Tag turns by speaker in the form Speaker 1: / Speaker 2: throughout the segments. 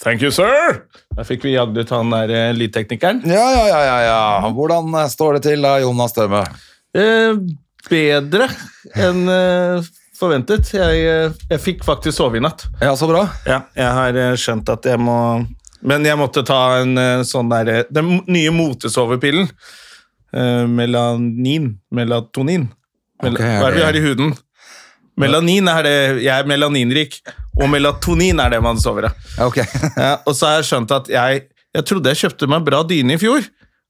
Speaker 1: Thank you, sir! Der fikk vi jagd ut han der eh, lydteknikeren.
Speaker 2: Ja, ja, ja, ja, ja. Hvordan eh, står det til da, Jonas Dømme?
Speaker 1: Eh, bedre enn eh, forventet. Jeg, eh, jeg fikk faktisk sove i natt.
Speaker 2: Ja, så bra.
Speaker 1: Ja, jeg har eh, skjønt at jeg må Men jeg måtte ta en eh, sånn der eh, Den mo- nye motesovepillen. Eh, melanin. Melatonin. Mel
Speaker 2: Ok, er
Speaker 1: Hva er det vi
Speaker 2: det-
Speaker 1: har i huden? Melanin er det Jeg er melaninrik, og melatonin er det man sover av.
Speaker 2: Ja, ok.
Speaker 1: Ja, og så har jeg skjønt at jeg Jeg trodde jeg kjøpte meg bra dyne i fjor.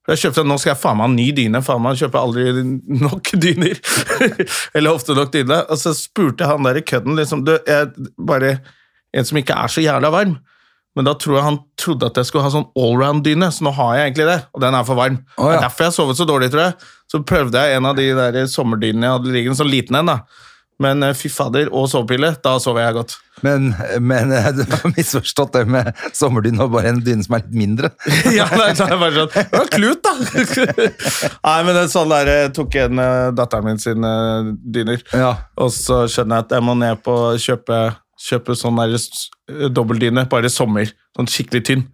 Speaker 1: For jeg kjøpte, Nå skal jeg faen meg ha ny dyne. Faen meg kjøper aldri nok dyner. Eller ofte nok dyne. Og så spurte jeg han der i kødden liksom du, jeg, Bare en som ikke er så jævla varm. Men da tror jeg han trodde at jeg skulle ha sånn allround-dyne, så nå har jeg egentlig det. Og den er for varm.
Speaker 2: Å, ja.
Speaker 1: Det er derfor jeg har sovet så dårlig, tror jeg. Så prøvde jeg en av de der sommerdynene jeg hadde liggende, sånn liten en, da. Men eh, fy fader, og sovepille. Da sover jeg godt.
Speaker 2: Men, men eh, du har misforstått det med sommerdyne og bare en dyne som er litt mindre.
Speaker 1: ja, nei, så er jeg bare sånn Det var klut, da! nei, men det er sånn der jeg tok en eh, datteren min sin eh, dyner,
Speaker 2: Ja.
Speaker 1: og så skjønner jeg at jeg må ned på å kjøpe, kjøpe sånn der s- dobbeltdyne, bare sommer. Sånn skikkelig tynn.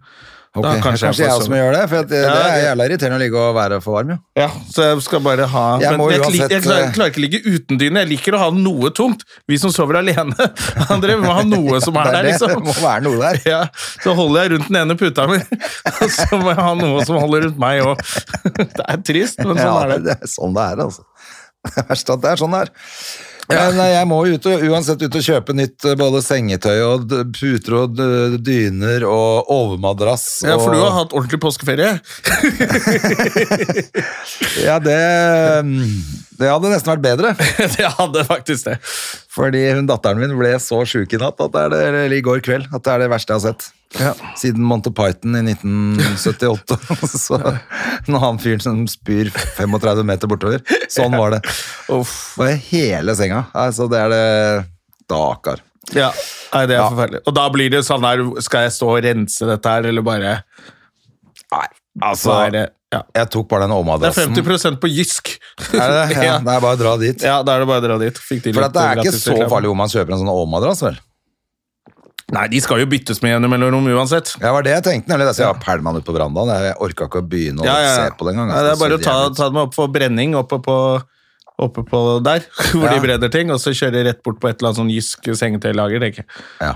Speaker 2: Ok,
Speaker 1: Da kanskje
Speaker 2: kanskje,
Speaker 1: jeg får
Speaker 2: jeg også
Speaker 1: sove.
Speaker 2: må gjøre det, for at, eh,
Speaker 1: Ja,
Speaker 2: det er
Speaker 1: ja.
Speaker 2: jævla irriterende å ligge og være for varm, jo.
Speaker 1: Ja, så jeg skal bare ha
Speaker 2: Jeg
Speaker 1: Men
Speaker 2: må
Speaker 1: jeg,
Speaker 2: uansett,
Speaker 1: kli- jeg klarer,
Speaker 2: eh,
Speaker 1: klarer ikke å ligge uten dyne. Jeg liker å ha noe tungt. Vi som sover alene, André, vi må ha noe som er
Speaker 2: det er
Speaker 1: der,
Speaker 2: det.
Speaker 1: liksom.
Speaker 2: Det må være noe der.
Speaker 1: Ja, så holder jeg rundt den ene puta mi, og så må jeg ha noe som holder rundt meg òg. Det er trist, men sånn
Speaker 2: ja,
Speaker 1: er det.
Speaker 2: det er sånn det er, altså. Det er verst at det er sånn det er. Men eh, jeg må jo ut og, uansett ut og kjøpe nytt eh, både sengetøy og d- puter og d- dyner og overmadrass.
Speaker 1: Ja, for du har
Speaker 2: og-
Speaker 1: hatt ordentlig påskeferie.
Speaker 2: Ja, det, mm, det hadde nesten vært bedre,
Speaker 1: Jeg hadde faktisk det.
Speaker 2: fordi hun datteren min ble så sjuk i natt, at det er det, eller i går kveld, at det er det verste jeg har sett. Siden Monty Python i 1978, så når han fyren som spyr 35 meter bortover, sånn var det. Uff, og hele senga, altså det er det, dakar.
Speaker 1: Ja, Nei, det er
Speaker 2: Ja.
Speaker 1: forferdelig. Og da blir det sånn her, skal jeg stå og rense dette her, eller bare
Speaker 2: Nei,
Speaker 1: Altså, er det, ja. altså.
Speaker 2: Jeg tok bare den
Speaker 1: det er
Speaker 2: overmadrassen.
Speaker 1: 50 på Jysk.
Speaker 2: Er det det? Ja,
Speaker 1: ja.
Speaker 2: det er bare å dra dit.
Speaker 1: ja, da er det bare å dra dit. Fikk de
Speaker 2: For
Speaker 1: litt
Speaker 2: at det er ikke
Speaker 1: gratis
Speaker 2: så
Speaker 1: reklame.
Speaker 2: farlig om man kjøper en sånn overmadrass, vel?
Speaker 1: Nei, de skal jo byttes med gjennom mellomrom uansett.
Speaker 2: Ja, det var det jeg tenkte, nemlig. Så jeg pælma den ut på verandaen. Jeg orka ikke å begynne å
Speaker 1: Ja, ja.
Speaker 2: se på det engang.
Speaker 1: Nei, det er bare å
Speaker 2: Så
Speaker 1: ta,
Speaker 2: jævlig-
Speaker 1: ta dem opp for brenning oppe på, oppe på der, hvor
Speaker 2: Ja.
Speaker 1: de brenner ting, og så kjøre rett bort på et eller annet sånn Jysk sengetøylager, tenker jeg.
Speaker 2: Ja.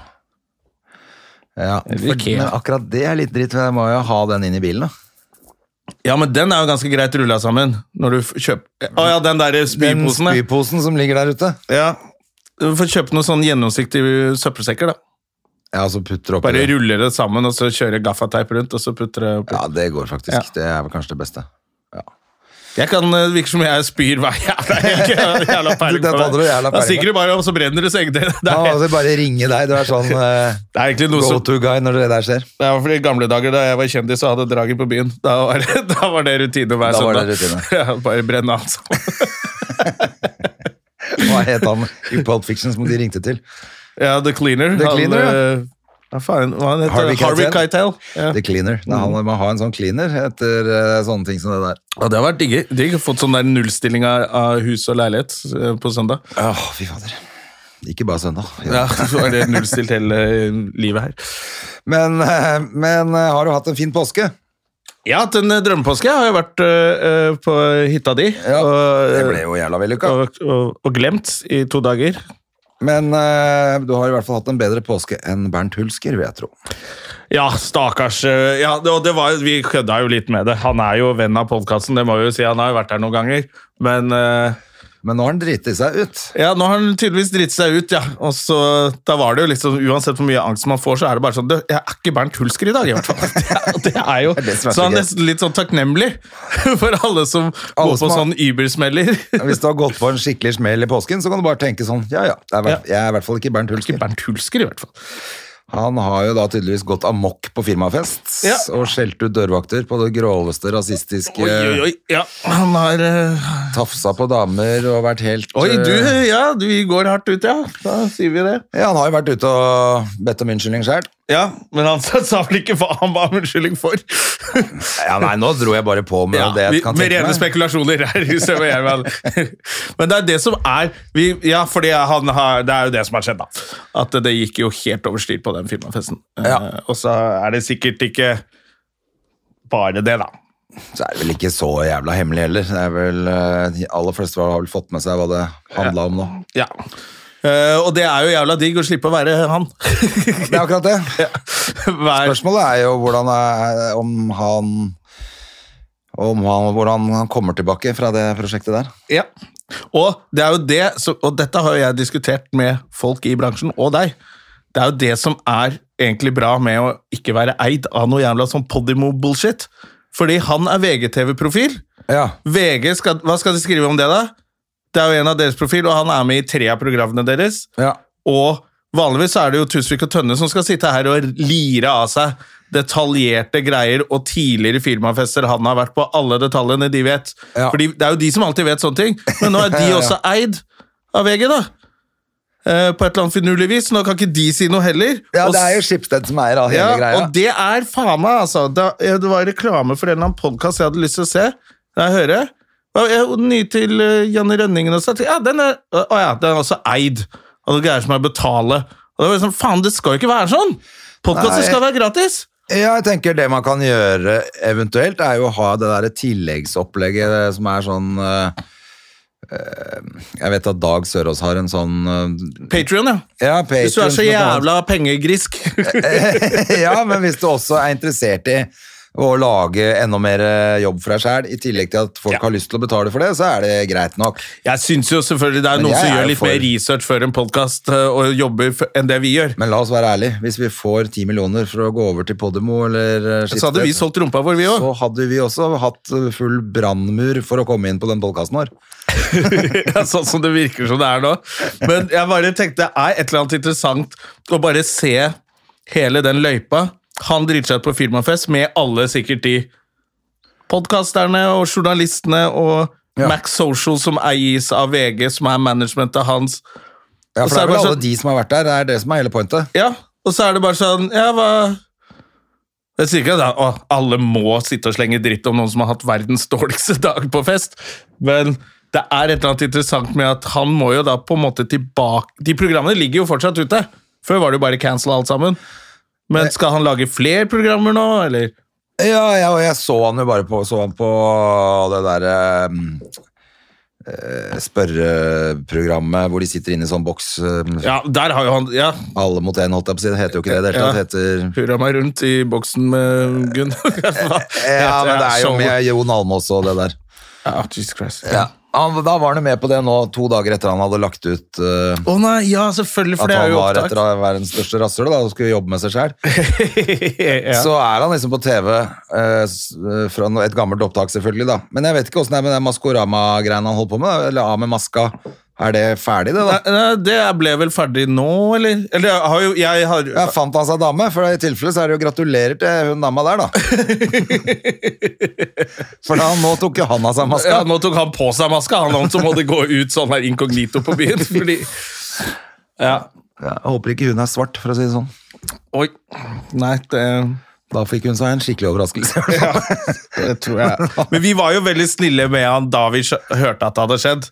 Speaker 2: Ja,
Speaker 1: Eller
Speaker 2: for,
Speaker 1: Ikea.
Speaker 2: men akkurat det er litt dritt, for jeg må jo ha den inn i bilen, da.
Speaker 1: Ja, men den er jo ganske greit rulla sammen. Når du f- kjøper Å ja, den der
Speaker 2: Den
Speaker 1: spyposen, ja.
Speaker 2: spyposen som ligger der ute.
Speaker 1: ja. Du får kjøpe noen sånn gjennomsiktige søppelsekker, da.
Speaker 2: Ja, og så putter du oppi
Speaker 1: Bare
Speaker 2: det.
Speaker 1: ruller det sammen, og så kjører gaffateip rundt, og så putter det opp.
Speaker 2: Ja, det går faktisk.
Speaker 1: Ja.
Speaker 2: Det er vel kanskje det beste. Ja.
Speaker 1: Jeg kan eh, virke som jeg spyr hver jævla helg. Jævla peiling
Speaker 2: Den
Speaker 1: på
Speaker 2: hadde du
Speaker 1: det.
Speaker 2: jævla
Speaker 1: Da
Speaker 2: peiling på.
Speaker 1: stikker du bare opp, så brenner du sengetøyet. Det,
Speaker 2: Ja,
Speaker 1: er-
Speaker 2: og så altså, bare ringe deg. Du er sånn eh,
Speaker 1: det er egentlig noe
Speaker 2: go
Speaker 1: som
Speaker 2: to guy når det der skjer.
Speaker 1: Det var fordi I gamle dager da jeg var kjendis og hadde draget på byen, da var det, da var det rutine hver
Speaker 2: Da var
Speaker 1: søndag.
Speaker 2: det rutine.
Speaker 1: Ja, bare brenne alt sammen.
Speaker 2: Hva het han i Pulp Fiction som de ringte til?
Speaker 1: Ja, The Cleaner.
Speaker 2: The Cleaner, ja.
Speaker 1: eh, ja. faen, hva han heter?
Speaker 2: Harvey
Speaker 1: Harvey
Speaker 2: Keitel.
Speaker 1: Keitel. Ja. Mm.
Speaker 2: The cleaner. Nei, han må ha en sånn cleaner etter eh, sånne ting som det der.
Speaker 1: Ja, det har vært digg. Digg. Fått sånn der nullstilling av, av hus og leilighet eh, på søndag.
Speaker 2: Åh, fy fader. Ikke bare søndag.
Speaker 1: Ja, så er det nullstilt hele eh, livet her.
Speaker 2: Men, eh, men eh, har du hatt en fin påske?
Speaker 1: Jeg har hatt en eh, drømmepåske. Jeg har jo vært eh, eh, på hytta di og,
Speaker 2: eh, det ble jo jævla vellykka.
Speaker 1: og, og, og glemt i to dager.
Speaker 2: Men eh, du har i hvert fall hatt en bedre påske enn Bernt Hulsker, vil jeg tro.
Speaker 1: Ja, stakkars. eh, Ja, det, og det var, vi kødda jo litt med det. Han er jo venn av podkasten, det må vi jo si. Han har jo vært her noen ganger. Men eh,
Speaker 2: Men nå har han driti seg ut.
Speaker 1: ja, nå har han tydeligvis dritt seg ut, ja. Og så, da var det jo liksom, Uansett hvor mye angst man får, så er det bare sånn «Du, Jeg er ikke Bernt Hulsker i dag, i hvert fall. Ja, og det er jo,
Speaker 2: Det er det som er så
Speaker 1: så han
Speaker 2: gøy.
Speaker 1: er nesten litt sånn takknemlig for alle som
Speaker 2: Alle
Speaker 1: går
Speaker 2: som
Speaker 1: på
Speaker 2: har-
Speaker 1: sånn Uber-smeller.
Speaker 2: Hvis du har gått på en skikkelig smell i påsken, så kan du bare tenke sånn Ja ja, det er, i hvert- jeg er i hvert fall ikke Bernt Hulsker.
Speaker 1: Bernt Hulsker, i hvert fall.
Speaker 2: Han har jo da tydeligvis gått amok på firmafest
Speaker 1: Ja.
Speaker 2: og skjelt ut dørvakter på det groveste rasistiske
Speaker 1: Oi, oi, oi. Ja, han har eh,
Speaker 2: Tafsa på damer og vært helt
Speaker 1: Oi, du,
Speaker 2: eh,
Speaker 1: ja, du går hardt ut, ja. Da sier vi det.
Speaker 2: Ja, han har jo vært ute og bedt om unnskyldning sjøl.
Speaker 1: Ja, Men han sa sa vel ikke hva han ba om unnskyldning for?
Speaker 2: Ja, nei, nå dro jeg bare på med
Speaker 1: Ja,
Speaker 2: det
Speaker 1: vi,
Speaker 2: jeg kan
Speaker 1: med
Speaker 2: tenke
Speaker 1: rene
Speaker 2: meg.
Speaker 1: spekulasjoner her. i stedet for jeg, men, men det er det som er vi, Ja, fordi han har, det er jo det som har skjedd, da. At det gikk jo helt over styr på den firmafesten.
Speaker 2: Ja.
Speaker 1: Eh, og så er det sikkert ikke bare det, da.
Speaker 2: Så er det vel ikke så jævla hemmelig heller. Det er vel, eh, De aller fleste har vel fått med seg hva det handla om nå.
Speaker 1: Ja. Eh, og det er jo jævla digg å slippe å være han.
Speaker 2: Det er akkurat det.
Speaker 1: Hver,
Speaker 2: Spørsmålet er jo hvordan er, om han om han, hvordan han kommer tilbake fra det prosjektet der.
Speaker 1: Ja. Og det er jo det som- Og dette har jo jeg diskutert med folk i bransjen, og deg. Det er jo det som er egentlig bra med å ikke være eid av noe jævla sånn Podimo-bullshit. Fordi han er VGTV-profil.
Speaker 2: Ja,
Speaker 1: VG, skal, Hva skal de skrive om det, da? Det er jo en av deres profil, og han er med i tre av programmene deres.
Speaker 2: ja.
Speaker 1: Og vanligvis så er det jo Tusvik og Tønne som skal sitte her og lire av seg detaljerte greier og tidligere firmafester han har vært på, alle detaljene de vet.
Speaker 2: Ja.
Speaker 1: Fordi det er jo de som alltid vet sånne ting, men nå er de
Speaker 2: Ja, ja.
Speaker 1: også eid av VG, da. Eh, på et eller annet finurlig vis. Nå kan ikke de si noe heller.
Speaker 2: ja,
Speaker 1: Og
Speaker 2: det er
Speaker 1: s-
Speaker 2: jo Schibsted som eier av hele
Speaker 1: ja,
Speaker 2: greia.
Speaker 1: Og det er faen meg, altså. Det, det var reklame for en eller annen podkast jeg hadde lyst til å se. Jeg hører. Og jeg- og ny til eh, Janne Rønningen også. Ja, den er, å, å ja, den er også eid av noen greier som er betale. Og det var liksom, faen, det skal jo ikke være sånn! Podkaster
Speaker 2: Nei.
Speaker 1: skal være gratis!
Speaker 2: Ja, jeg tenker det man kan gjøre eventuelt, er jo å ha det der tilleggsopplegget det som er sånn eh, eh, Jeg vet at Dag Sørås har en sånn eh,
Speaker 1: Patrion, ja.
Speaker 2: Ja, Patreon
Speaker 1: Hvis du er så
Speaker 2: som kan-
Speaker 1: jævla pengegrisk.
Speaker 2: ja, men hvis du også er interessert i å lage enda mer eh, jobb for deg sjæl, i tillegg til at folk
Speaker 1: Ja.
Speaker 2: har lyst til å betale for det, så er det greit nok.
Speaker 1: Jeg syns jo selvfølgelig det er
Speaker 2: Men
Speaker 1: noen
Speaker 2: jeg
Speaker 1: som
Speaker 2: er jo
Speaker 1: gjør litt
Speaker 2: for-
Speaker 1: mer research før en podkast og jobber f- enn det vi gjør.
Speaker 2: Men la oss være ærlige. Hvis vi får ti millioner for å gå over til Podimo eller eh,
Speaker 1: Så hadde vi
Speaker 2: Schibsted,
Speaker 1: solgt rumpa vår, vi òg.
Speaker 2: så hadde vi også hatt eh, full brannmur for å komme inn på den podkasten vår.
Speaker 1: ja, sånn som det virker som det er nå. Men jeg bare tenkte det er et eller annet interessant å bare se hele den løypa. Han driter seg ut på firmafest med alle sikkert de podkasterne og journalistene og
Speaker 2: Ja.
Speaker 1: Max Social som eies av VG, som er managementet hans.
Speaker 2: Ja,
Speaker 1: Og
Speaker 2: for
Speaker 1: så
Speaker 2: det
Speaker 1: er
Speaker 2: er
Speaker 1: det
Speaker 2: vel
Speaker 1: bare
Speaker 2: alle
Speaker 1: sånn-
Speaker 2: de som har vært der, det er det som er hele pointet.
Speaker 1: Ja, og så er det bare sånn Ja, hva Jeg sier ikke at å, alle må sitte og slenge dritt om noen som har hatt verdens dårligste dag på fest, men det er et eller annet interessant med at han må jo da på en måte tilbake De programmene ligger jo fortsatt ute. Før var det jo bare cancel alt sammen. Men skal han lage flere programmer nå, eller?
Speaker 2: Ja, jeg, og jeg så han jo bare på, så han på det eh, derre spørreprogrammet hvor de sitter inne i sånn boks eh,
Speaker 1: Ja, der har jo han Ja,
Speaker 2: Alle mot én, holdt jeg på å si. Det heter jo ikke det. Det, hele
Speaker 1: Ja.
Speaker 2: tatt heter
Speaker 1: hurra meg rundt i boksen med Gunn.
Speaker 2: ja, men det er jo med Jon Almaas og det der.
Speaker 1: Ja, Jesus Christ. Å
Speaker 2: Ja. Han, da var han jo med på det nå, to dager etter han hadde lagt ut eh,
Speaker 1: nei, ja, selvfølgelig, for
Speaker 2: at
Speaker 1: det er
Speaker 2: han
Speaker 1: jo
Speaker 2: var
Speaker 1: opptak.
Speaker 2: etter å være den største rasshølet da, og skulle jobbe med seg sjæl.
Speaker 1: ja.
Speaker 2: Så er han liksom på TV eh, s- eh, fra no- et gammelt opptak, selvfølgelig. da. Men jeg vet ikke åssen det er med den Maskorama-greien han holdt på med. da, Eller av med maska. Er det ferdig, det, da?
Speaker 1: Nei, nei, Eh, det ble vel ferdig nå, eller? Eller jeg har jo Jeg har
Speaker 2: Ja, Fant han seg dame? For i tilfelle så er det jo gratulerer til hun dama der, da. For da, nå tok jo han av seg maska.
Speaker 1: ja, nå tok han på seg maska, han han som måtte gå ut sånn her inkognito på byen. Fordi Ja.
Speaker 2: Ja, Jeg håper ikke hun er svart, for å si det sånn.
Speaker 1: Oi. Nei, det,
Speaker 2: Da fikk hun seg en skikkelig overraskelse.
Speaker 1: det tror jeg Men vi var jo veldig snille med han da vi skjø- hørte at det hadde skjedd.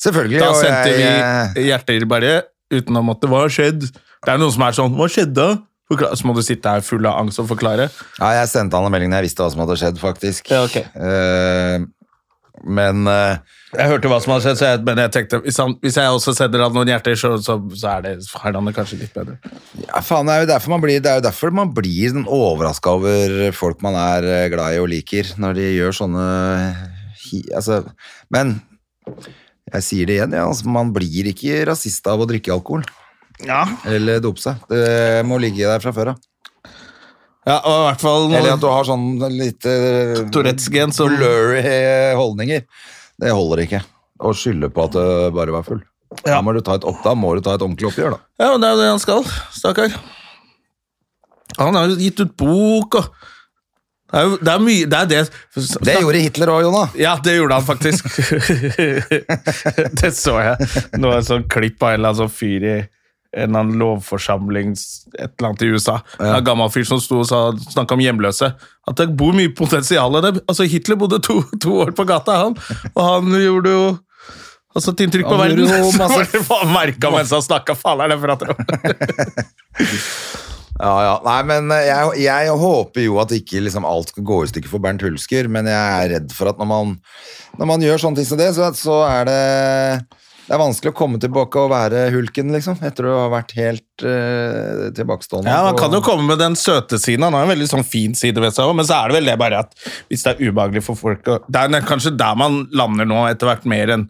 Speaker 2: Selvfølgelig.
Speaker 1: Da
Speaker 2: og
Speaker 1: sendte
Speaker 2: jeg, eh,
Speaker 1: vi hjerter bare uten å måtte Hva har skjedd? Det er noen som er sånn Hva skjedde? Forkla- Så må du sitte her full av angst og forklare.
Speaker 2: Ja, jeg sendte han en melding da jeg visste hva som hadde skjedd, faktisk.
Speaker 1: Ja, ok.
Speaker 2: Eh, men eh,
Speaker 1: Jeg hørte hva som hadde skjedd, så jeg, men jeg tenkte hvis, han, hvis jeg også sender han noen hjerter, så, så, så er det, har han det kanskje litt bedre.
Speaker 2: ja, faen, det er jo derfor man blir, det er jo derfor man blir sånn overraska over folk man er eh, glad i og liker, når de gjør sånne hi, altså, Men jeg sier det igjen, ja, altså, man blir ikke rasist av å drikke alkohol
Speaker 1: Ja.
Speaker 2: eller dope seg. Det må ligge der fra før av.
Speaker 1: ja og i hvert fall
Speaker 2: Eller at du har sånn litt eh,
Speaker 1: Tourettes gen som
Speaker 2: blurry eh, holdninger. Det holder ikke. Å skylde på at du bare var full. Da må du ta et opp, da må du ta et ordentlig oppgjør, da.
Speaker 1: Ja, men det er jo det han skal, stakkar. Han har jo gitt ut bok og Det er jo det er mye Det er det
Speaker 2: Det gjorde Hitler òg, Jonah.
Speaker 1: Ja, det gjorde han faktisk. det så jeg. Nå er det sånn klipp av en eller annen sånn fyr i en eller annen lovforsamling s- et eller annet i USA. En gammel fyr som sto og sa- snakket om hjemløse. At det bor mye potensial i det. Altså, Hitler bodde to, to år på gata, han. Og han gjorde jo altså, et inntrykk på
Speaker 2: Han gjorde
Speaker 1: verden.
Speaker 2: jo
Speaker 1: Så
Speaker 2: masse-
Speaker 1: var det bare merket mens han snakket. Faen, er det for at
Speaker 2: Ja, ja. Nei, men eh, jeg, jeg håper jo at ikke liksom alt skal gå i stykker for Bernt Hulsker, men jeg er redd for at når man, når man gjør sånne ting som det, så, så er det det er vanskelig å komme tilbake og være hulken, liksom, etter å ha vært helt eh, tilbakestående.
Speaker 1: Ja, Man kan jo
Speaker 2: på-
Speaker 1: komme med den søte siden. Han har en veldig sånn fin side ved seg òg, men så er det vel det bare at hvis det er ubehagelig for folk å- Det er nær- kanskje der man lander nå etter hvert mer enn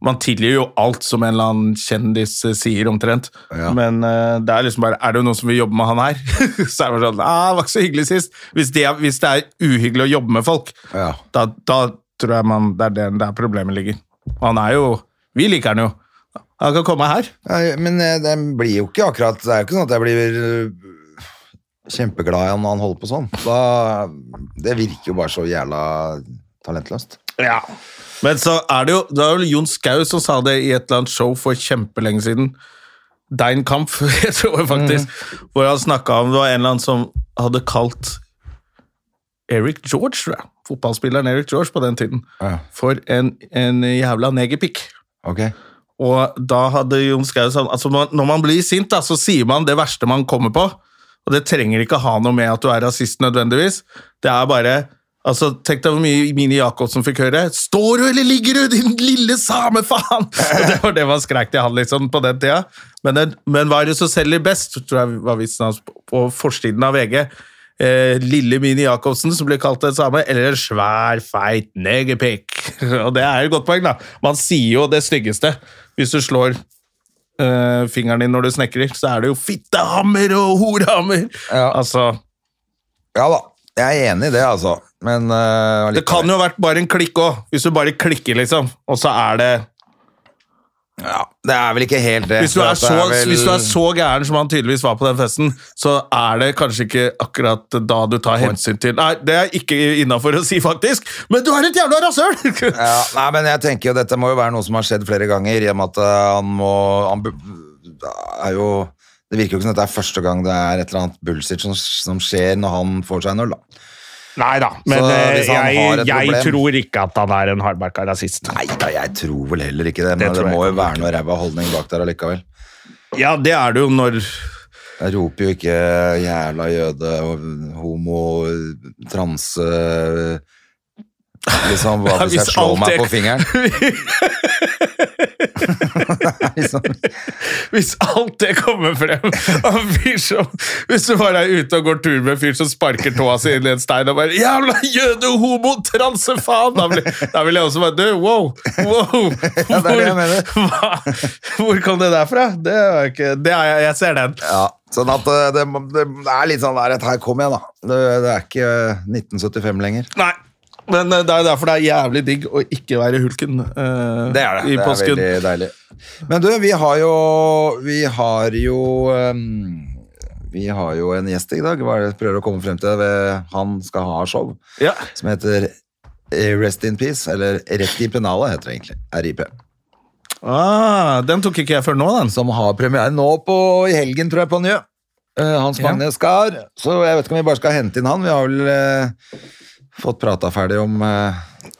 Speaker 1: Man tilgir jo alt som en eller annen kjendis eh, sier, omtrent.
Speaker 2: Ja.
Speaker 1: Men eh, det er liksom bare Er det noen som vil jobbe med han her? så er det bare sånn ah, det var ikke så hyggelig sist. Hvis det, er- hvis det er uhyggelig å jobbe med folk,
Speaker 2: Ja.
Speaker 1: da, da tror jeg man, det er der, der problemet ligger. Han er jo Vi liker han jo. Han kan komme her.
Speaker 2: Nei, Men eh, det blir jo ikke akkurat Det er jo ikke sånn at jeg blir eh, kjempeglad i han når han holder på sånn. Da, det virker jo bare så jævla talentløst.
Speaker 1: Ja. Men så er det jo Det var vel Jon Skau som sa det i et eller annet show for kjempelenge siden. Dein Kampf, jeg tror faktisk. Hvor han snakka om det var en eller annen som hadde kalt Eric George, tror jeg. Fotballspilleren Eric George på den tiden.
Speaker 2: Ja.
Speaker 1: For en, en jævla negerpikk.
Speaker 2: Ok?
Speaker 1: Og da hadde Jon Skau sagt altså man, Når man blir sint, da, så sier man det verste man kommer på. Og det trenger ikke ha noe med at du er rasist nødvendigvis. Det er bare Altså, Tenk deg hvor mye Mini Jacobsen fikk høre. 'Står du eller ligger du, din lille samefaen?' Og Det var det man skrek til han liksom på den tida. Men, den, men hva er det som selger best, tror jeg var vitsen hans på- på forsiden av VG. Eh, lille Mini Jacobsen, som blir kalt det samme, eller en svær, feit negerpikk. Og det er jo et godt poeng, da. Man sier jo det styggeste. Hvis du slår eh, fingeren din når du snekrer, så er det jo fittehammer og horehammer.
Speaker 2: Ja.
Speaker 1: Altså,
Speaker 2: Ja da, jeg er enig i det, altså. Men eh,
Speaker 1: det kan jo ha vært bare en klikk òg, hvis du bare klikker, liksom. Og så er det
Speaker 2: Ja, det er vel ikke helt det.
Speaker 1: hvis du,
Speaker 2: for
Speaker 1: er
Speaker 2: at det
Speaker 1: så,
Speaker 2: vel-
Speaker 1: hvis du er så gæren som han tydeligvis var på den festen, så er det kanskje ikke akkurat da du tar hensyn til Nei, det er ikke innafor å si, faktisk, men du er et jævla rasshøl!
Speaker 2: ja, Nei, men jeg tenker jo dette må jo være noe som har skjedd flere ganger, i og med at eh, han må han, bu- det er jo, Det virker jo ikke som dette er første gang det er et eller annet bullshit som, som skjer når han får seg en øl, da.
Speaker 1: Nei da, men
Speaker 2: Så
Speaker 1: eh,
Speaker 2: hvis han har
Speaker 1: jeg,
Speaker 2: et
Speaker 1: jeg
Speaker 2: problem-
Speaker 1: tror ikke at han er en hardbarka rasist.
Speaker 2: Nei da, jeg tror vel heller ikke det, men det,
Speaker 1: tror jeg
Speaker 2: må jo
Speaker 1: ikke.
Speaker 2: være noe ræva holdning bak der allikevel.
Speaker 1: Ja, det er det jo når
Speaker 2: Jeg roper jo ikke jævla jøde og homo, transe Liksom, hva hvis
Speaker 1: Hvis
Speaker 2: jeg slår
Speaker 1: alt
Speaker 2: meg
Speaker 1: det-
Speaker 2: på fingeren? liksom,
Speaker 1: Hvis alt det kommer frem av en fyr som Hvis du bare er ute og går tur med en fyr som sparker tåa si inn i en stein og bare 'Jævla jøde, homo, transe, faen!' Da vil, da vil jeg også bare dø. Wow! wow.
Speaker 2: Ja, det er det jeg mener.
Speaker 1: Hva, hvor kom det der fra? Det er ikke det er, jeg- Jeg ser den.
Speaker 2: Ja, sånn at eh, det, må- det er litt sånn der at her kom jeg da. Det, det er ikke eh, 1975 lenger.
Speaker 1: Nei. Men eh, det er jo derfor det er jævlig digg å ikke være hulken eh, i
Speaker 2: Det er
Speaker 1: påsken.
Speaker 2: veldig deilig. Men du, vi har jo Vi har jo ehm, Vi har jo en gjest i dag. Hva er det jeg prøver å komme frem til? Ved- Han skal ha show
Speaker 1: Ja.
Speaker 2: som heter eh, Rest in Peace, eller Rett i pennalet heter det egentlig. RIP.
Speaker 1: Ah, den tok ikke jeg før nå, den.
Speaker 2: Som har premiere nå på, i helgen, tror jeg, på Njø. Eh, Hans
Speaker 1: Ja.
Speaker 2: Magne Skar. Så jeg vet ikke om vi bare skal hente inn han. Vi har vel eh, fått prata ferdig om eh,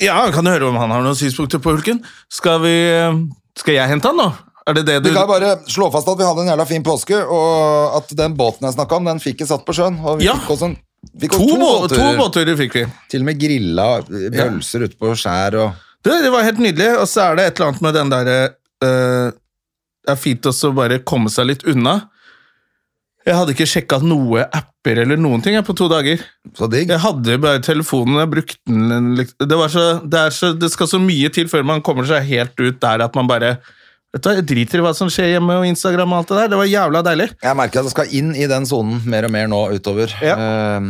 Speaker 1: Ja, Kan du høre om han har noen synspunkter på hulken? Skal vi eh, Skal jeg hente han, nå? Er det det du
Speaker 2: Vi kan bare slå fast at vi hadde en jævla fin påske, og at den båten jeg snakka om, den fikk jeg satt på sjøen. Og vi
Speaker 1: Ja.
Speaker 2: fikk oss en, fikk
Speaker 1: To,
Speaker 2: oss
Speaker 1: bå- to båtturer fikk vi.
Speaker 2: Til og med grilla eh, pølser ute på skjær og
Speaker 1: Det, det var helt nydelig. Og så er det et eller annet med den derre eh, Det er fint også å bare komme seg litt unna. Jeg hadde ikke sjekka noe apper eller noen ting jeg, på to dager.
Speaker 2: Så digg.
Speaker 1: Jeg hadde bare telefonen, jeg brukte den en litt- det, var så, det, er så, det skal så mye til før man kommer seg helt ut der at man bare Vet du, hva, Jeg driter i hva som skjer hjemme og Instagram og alt det der. Det var jævla deilig.
Speaker 2: Jeg merker at jeg skal inn i den sonen mer og mer nå utover.
Speaker 1: Ja.
Speaker 2: Ehm,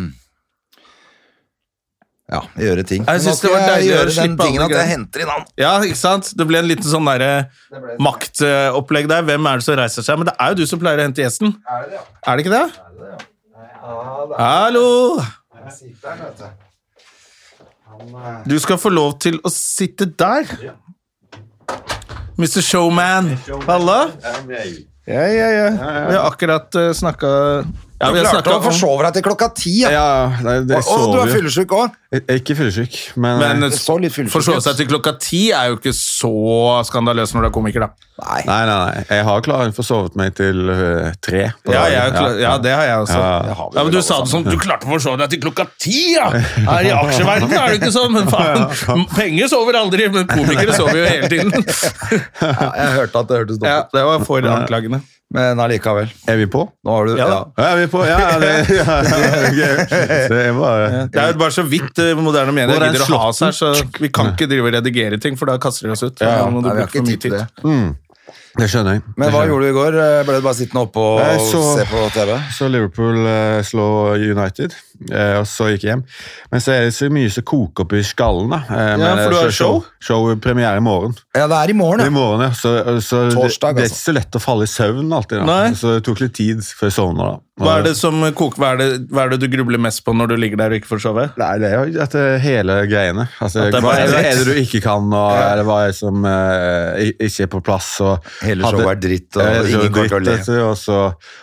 Speaker 2: ja, gjøre ting. Men nå
Speaker 1: synes det
Speaker 2: skal
Speaker 1: var
Speaker 2: jeg
Speaker 1: deilig å
Speaker 2: gjøre den
Speaker 1: slippe alle
Speaker 2: tingen at jeg
Speaker 1: greiene.
Speaker 2: henter inn han.
Speaker 1: Ja, ikke sant? Det ble en liten sånn derre maktopplegg der. Hvem er det som reiser seg? Men det er jo du som pleier å hente gjesten. Er det det, ikke det? Hallo!
Speaker 2: Jeg sitter her, vet du.
Speaker 1: Du skal få lov til å sitte der. Mr. Showman. Halla. Ja, ja, ja. Vi har akkurat uh, snakka Ja,
Speaker 2: Du
Speaker 1: vi har
Speaker 2: klarte
Speaker 1: snakka
Speaker 2: å forsove deg til klokka ti, ja.
Speaker 3: Ja, nei, det
Speaker 2: Å, du
Speaker 3: sover
Speaker 2: er
Speaker 3: jo.
Speaker 2: fyllesyk òg.
Speaker 3: Jeg er Ikke fyllesyk, men,
Speaker 1: Men
Speaker 2: Det så litt fyllesyk
Speaker 1: forsove
Speaker 2: ut.
Speaker 1: seg til klokka ti er jo ikke så skandaløst når du er komiker, da.
Speaker 2: Nei.
Speaker 3: Nei, nei, nei. Jeg har klart å få sovet meg til øh, tre.
Speaker 1: Ja,
Speaker 3: på dagen.
Speaker 1: jeg, er klar- ja, det har jeg også.
Speaker 3: Ja.
Speaker 1: Ja, men Du sa det som du klarte å forsove deg til klokka ti, ja! Her i aksjeverdenen er det ikke sånn, men faen. Penger sover aldri, men komikere sover jo hele tiden.
Speaker 2: Ja, jeg hørte at det hørtes dumt ut.
Speaker 1: Ja, det var for anklagende.
Speaker 2: Men allikevel.
Speaker 3: Er vi på?
Speaker 2: Nå har du
Speaker 1: Ja
Speaker 2: ja,
Speaker 1: da.
Speaker 3: Ja, er vi på? Ja, ja, det, ja, ja, ok. det er bare
Speaker 1: Det er jo bare så vidt eh, moderne medier
Speaker 3: Hvor er
Speaker 1: gidder å ha oss her, så vi kan ikke drive og redigere ting, for da kaster de oss ut. Da må du
Speaker 2: Nei, vi
Speaker 1: bruke
Speaker 2: har ikke
Speaker 1: for mye
Speaker 2: tid til det.
Speaker 3: Det skjønner jeg.
Speaker 2: Men
Speaker 3: Det
Speaker 2: hva
Speaker 3: skjønner jeg.
Speaker 2: gjorde du i går? Eh, Ble du bare sittende oppe og
Speaker 3: Jeg så-
Speaker 2: se på TV?
Speaker 3: Så Liverpool eh, slår United, eh, og så gikk jeg hjem. Men så er det så mye som koker opp i skallen. da. Eh, men,
Speaker 1: for
Speaker 3: eh,
Speaker 1: du har show?
Speaker 3: Show premiere i morgen.
Speaker 2: Ja, det er i morgen,
Speaker 3: I
Speaker 2: ja.
Speaker 3: morgen, ja. Så, så det,
Speaker 2: Torsdag,
Speaker 3: det er
Speaker 2: altså.
Speaker 3: ikke så lett å falle i søvn alltid. Da.
Speaker 1: Nei.
Speaker 3: Så det tok litt tid før jeg sovna. da.
Speaker 1: Hva er det som koker? Hva er det, hva er det du grubler mest på når du ligger der og ikke får sove?
Speaker 3: Nei, det er jo at det er hele greiene. Altså,
Speaker 1: At det er
Speaker 3: hva,
Speaker 1: bare
Speaker 3: er, hva er
Speaker 1: dritt.
Speaker 3: det du ikke kan, og eller hva er det som eh, i- ikke er på plass? Og
Speaker 2: Hele
Speaker 3: hadde- Eh,
Speaker 2: showet er dritt, og
Speaker 3: Hele showet
Speaker 2: ingen går
Speaker 3: dritt,
Speaker 2: til å le.
Speaker 3: altså, Og så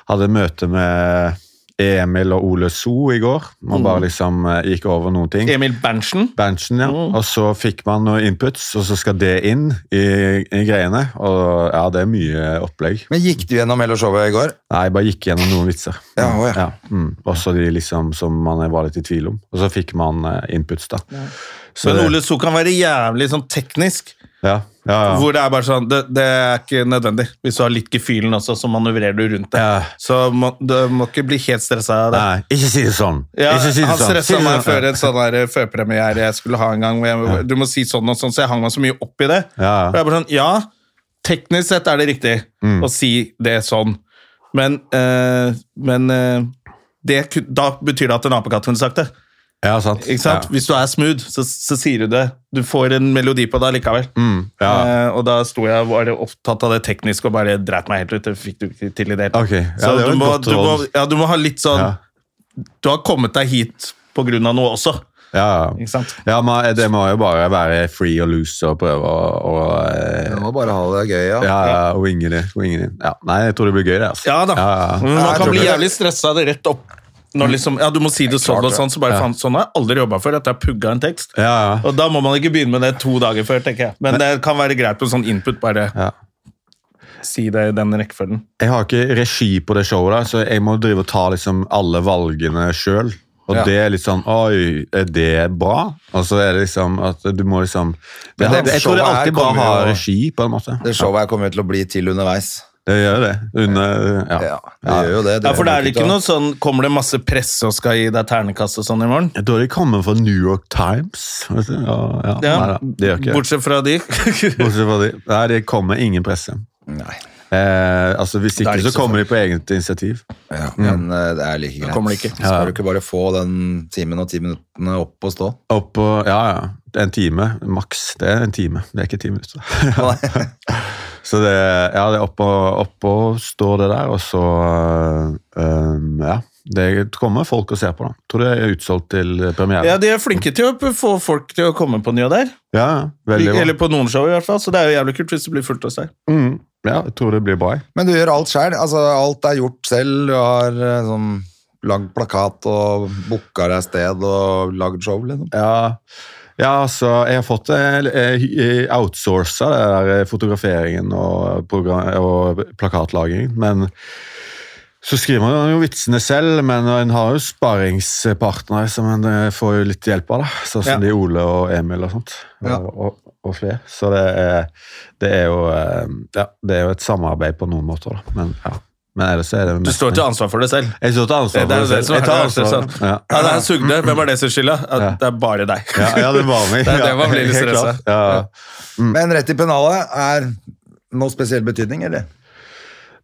Speaker 3: hadde jeg møte med Emil og Ole So i går.
Speaker 2: Mm.
Speaker 3: Man bare liksom eh, gikk over noen ting.
Speaker 1: Emil Berntsen?
Speaker 3: Benchen, ja.
Speaker 2: Mm.
Speaker 3: Og så fikk man noen inputs, og så skal det inn i, i greiene. Og ja, det er mye opplegg.
Speaker 2: Men gikk du gjennom hele showet i går?
Speaker 3: Nei, jeg bare gikk gjennom noen vitser.
Speaker 2: Ja, å ja.
Speaker 3: mm. Også de liksom som man var litt i tvil om. Og så fikk man eh, inputs, da. Så
Speaker 1: Men
Speaker 3: det-
Speaker 1: Ole So kan være jævlig sånn teknisk,
Speaker 3: Ja, ja, ja.
Speaker 1: hvor det er bare sånn det, det er ikke nødvendig. Hvis du har litt gefühlen også, så manøvrerer du rundt det.
Speaker 3: Ja.
Speaker 1: Så må, du må ikke bli helt stressa av det.
Speaker 3: Nei, ikke si det sånn!
Speaker 1: Ja,
Speaker 3: ikke si det
Speaker 1: han
Speaker 3: sånn. Si
Speaker 1: stressa
Speaker 3: det
Speaker 1: meg
Speaker 3: sånn.
Speaker 1: før en sånn der førpremiere jeg skulle ha en gang. hvor jeg- Du må si sånn og sånn, så jeg hang meg så mye opp i det.
Speaker 3: Ja, ja.
Speaker 1: Og jeg bare sånn, ja, teknisk sett er det riktig
Speaker 3: Mm.
Speaker 1: å si det sånn, men, eh, men eh, det, ku- da betyr det at en apekatt kunne sagt det.
Speaker 3: Ja, sant.
Speaker 1: Ikke sant?
Speaker 3: Ja.
Speaker 1: Hvis du er smooth, så, så sier du det. Du får en melodi på det likevel.
Speaker 3: Mm, ja.
Speaker 1: Eh, og da sto jeg og var opptatt av det tekniske og bare dreit meg helt ut. Det fikk du ikke til i det hele tatt.
Speaker 3: Ok, ja,
Speaker 1: Så
Speaker 3: det var
Speaker 1: du
Speaker 3: et
Speaker 1: må,
Speaker 3: godt
Speaker 1: du, må,
Speaker 3: råd.
Speaker 1: ja, du må ha litt sånn
Speaker 3: Ja.
Speaker 1: Du har kommet deg hit på grunn av noe også.
Speaker 3: Ja,
Speaker 1: Ikke
Speaker 3: ja.
Speaker 1: sant?
Speaker 3: ja men eh, det må jo bare være free og loose og prøve å og, eh,
Speaker 2: Du må bare ha det gøy, ja.
Speaker 3: ja, ja, winge det. Winge det. Ja. Nei, jeg tror det blir gøy, det. Altså.
Speaker 1: Ja da. Mm.
Speaker 3: Ja, ja.
Speaker 1: Men
Speaker 2: Ja,
Speaker 1: man
Speaker 2: jeg
Speaker 1: kan
Speaker 2: tror
Speaker 1: bli
Speaker 2: det.
Speaker 1: jævlig stressa av det rett opp.
Speaker 3: Mm.
Speaker 1: Når liksom, ja, du må si det sånn og sånn. Så bare, faen, sånn har jeg aldri jobba før. At jeg har pugga en tekst.
Speaker 3: Ja, ja.
Speaker 1: Og da må man ikke begynne med det to dager før, tenker jeg. Men det kan være greit på sånn input. Bare
Speaker 3: Ja.
Speaker 1: si det i den rekkefølgen.
Speaker 3: Jeg har ikke regi på det showet, da, så jeg må drive og ta liksom alle valgene sjøl. Og det er litt sånn Oi, er det bra? Og så er det liksom at du må liksom det,
Speaker 2: Men det
Speaker 3: Jeg tror
Speaker 2: showet
Speaker 3: det er
Speaker 2: her
Speaker 3: alltid bra å ha
Speaker 2: kommer jo-
Speaker 3: regi, på en måte.
Speaker 2: Det showet her kommer jo til å bli til underveis.
Speaker 3: Det gjør det. Under, ja.
Speaker 2: Ja, det gjør jo det.
Speaker 1: Ja, for det er
Speaker 2: jo
Speaker 1: ikke noe sånn Kommer det masse presse og skal gi deg ternekast og sånn i morgen?
Speaker 3: Jeg tror de kommer fra New York Times. Vet du? Ja, ja.
Speaker 1: Ja,
Speaker 3: Nei, da, det gjør ikke det.
Speaker 1: Bortsett fra de.
Speaker 3: Bortsett fra de. Nei, det kommer ingen presse.
Speaker 2: Nei.
Speaker 3: Eh, altså, hvis
Speaker 1: er
Speaker 3: ikke,
Speaker 1: det
Speaker 3: så
Speaker 1: ikke så
Speaker 3: kommer de på eget initiativ.
Speaker 2: Ja, men eh, det er like greit.
Speaker 1: kommer det ikke.
Speaker 2: Skal du ikke bare få den timen og ti minuttene opp og stå?
Speaker 3: Opp på, ja, ja. En time, maks. Det er en time. Det er ikke ti minutter.
Speaker 2: Nei.
Speaker 3: Så det, ja, det er oppå, oppå står det der, og så eh, Ja. Det kommer folk og ser på, da. Tror det er utsolgt til premiere.
Speaker 1: Ja,
Speaker 3: Ja,
Speaker 1: de er flinke til å få folk til å komme på nye der.
Speaker 3: ja. Veldig bra.
Speaker 1: Eller på noen show, i hvert fall. Så det er jo jævlig kult hvis det blir fullt hos deg.
Speaker 3: Mm, ja, jeg tror det blir bra. jeg.
Speaker 2: Men du gjør alt sjøl. Altså, alt er gjort selv. Du har eh, sånn lagd plakat og booka deg sted og lagd show, liksom.
Speaker 3: Ja, ja altså, jeg har fått eh, outsourca det der eh, fotograferingen og, program, og plakatlagingen, men så skriver man jo vitsene selv, men en har jo sparringspartnere som en eh, får jo litt hjelp av, da. Sånn som
Speaker 1: Ja.
Speaker 3: de Ole og Emil og sånt.
Speaker 2: Ja.
Speaker 3: Og, og, og flere. Så det er, det er jo eh, Ja, det er jo et samarbeid på noen måter, da. Men, ja. men ellers er det
Speaker 1: Du står til ansvar for det selv.
Speaker 3: Jeg står til ansvar
Speaker 1: Det er jo
Speaker 3: for
Speaker 1: det som
Speaker 3: det selv.
Speaker 1: er
Speaker 3: Jeg
Speaker 1: det
Speaker 3: tar
Speaker 1: verste.
Speaker 3: ansvar.
Speaker 1: sånn.
Speaker 3: Ja.
Speaker 1: Ja, det her sugde. Hvem er det som skylder? Ja, det er bare deg.
Speaker 3: Ja, ja, det var meg.
Speaker 1: Det er det man blir litt
Speaker 3: Helt klart.
Speaker 1: stresset.
Speaker 3: Ja.
Speaker 2: Men rett i pennalet er noe spesiell betydning, eller?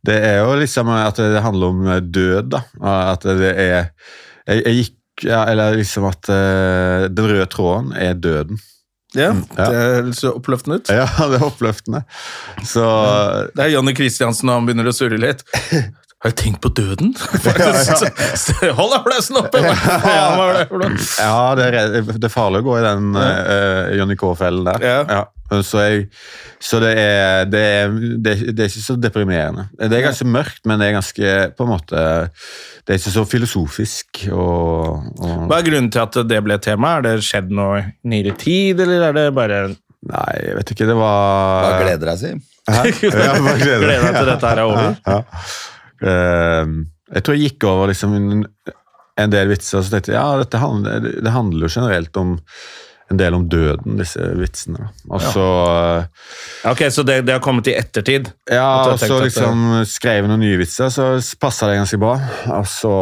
Speaker 3: Det er jo liksom at det handler om eh, død, da. At det er Jeg, jeg gikk ja, Eller liksom at eh, den røde tråden er døden.
Speaker 1: Ja,
Speaker 3: Ja.
Speaker 1: Det høres jo oppløftende ut.
Speaker 3: Ja, det er oppløftende. Så
Speaker 1: Det er Jonny Kristiansen, og han begynner å surre litt. Har jeg tenkt på døden? Faktisk. Så- Hold applausen oppe! Hva faen var det for noe?
Speaker 3: Ja, det er, redd- det er farlig å gå i den eh, Johnny K-fellen der.
Speaker 1: Ja.
Speaker 3: Så, jeg, så det, er, det, er, det, er, det er ikke så deprimerende. Det er ganske mørkt, men det er ganske på en måte Det er ikke så filosofisk. Og, og,
Speaker 1: Hva er grunnen til at det ble tema? Er det skjedd noe i nyere tid, eller er det bare
Speaker 3: nei, jeg vet ikke. Det
Speaker 2: Hva
Speaker 3: var
Speaker 2: gleder deg, si?
Speaker 3: Hæ? Ja, bare gleder
Speaker 1: Gleder deg til dette her er over?
Speaker 3: Ja. Ehm, jeg tror jeg gikk over liksom en, en del vitser og så tenkte jeg, ja, dette handler, det handler jo generelt om en del om døden, disse vitsene. da. Og så eh,
Speaker 1: Ok, Så det, det har kommet i ettertid? At du
Speaker 3: ja,
Speaker 1: har tenkt
Speaker 3: og så
Speaker 1: at eh, det-
Speaker 3: liksom skrev jeg noen nye vitser, så passa det ganske bra. Og så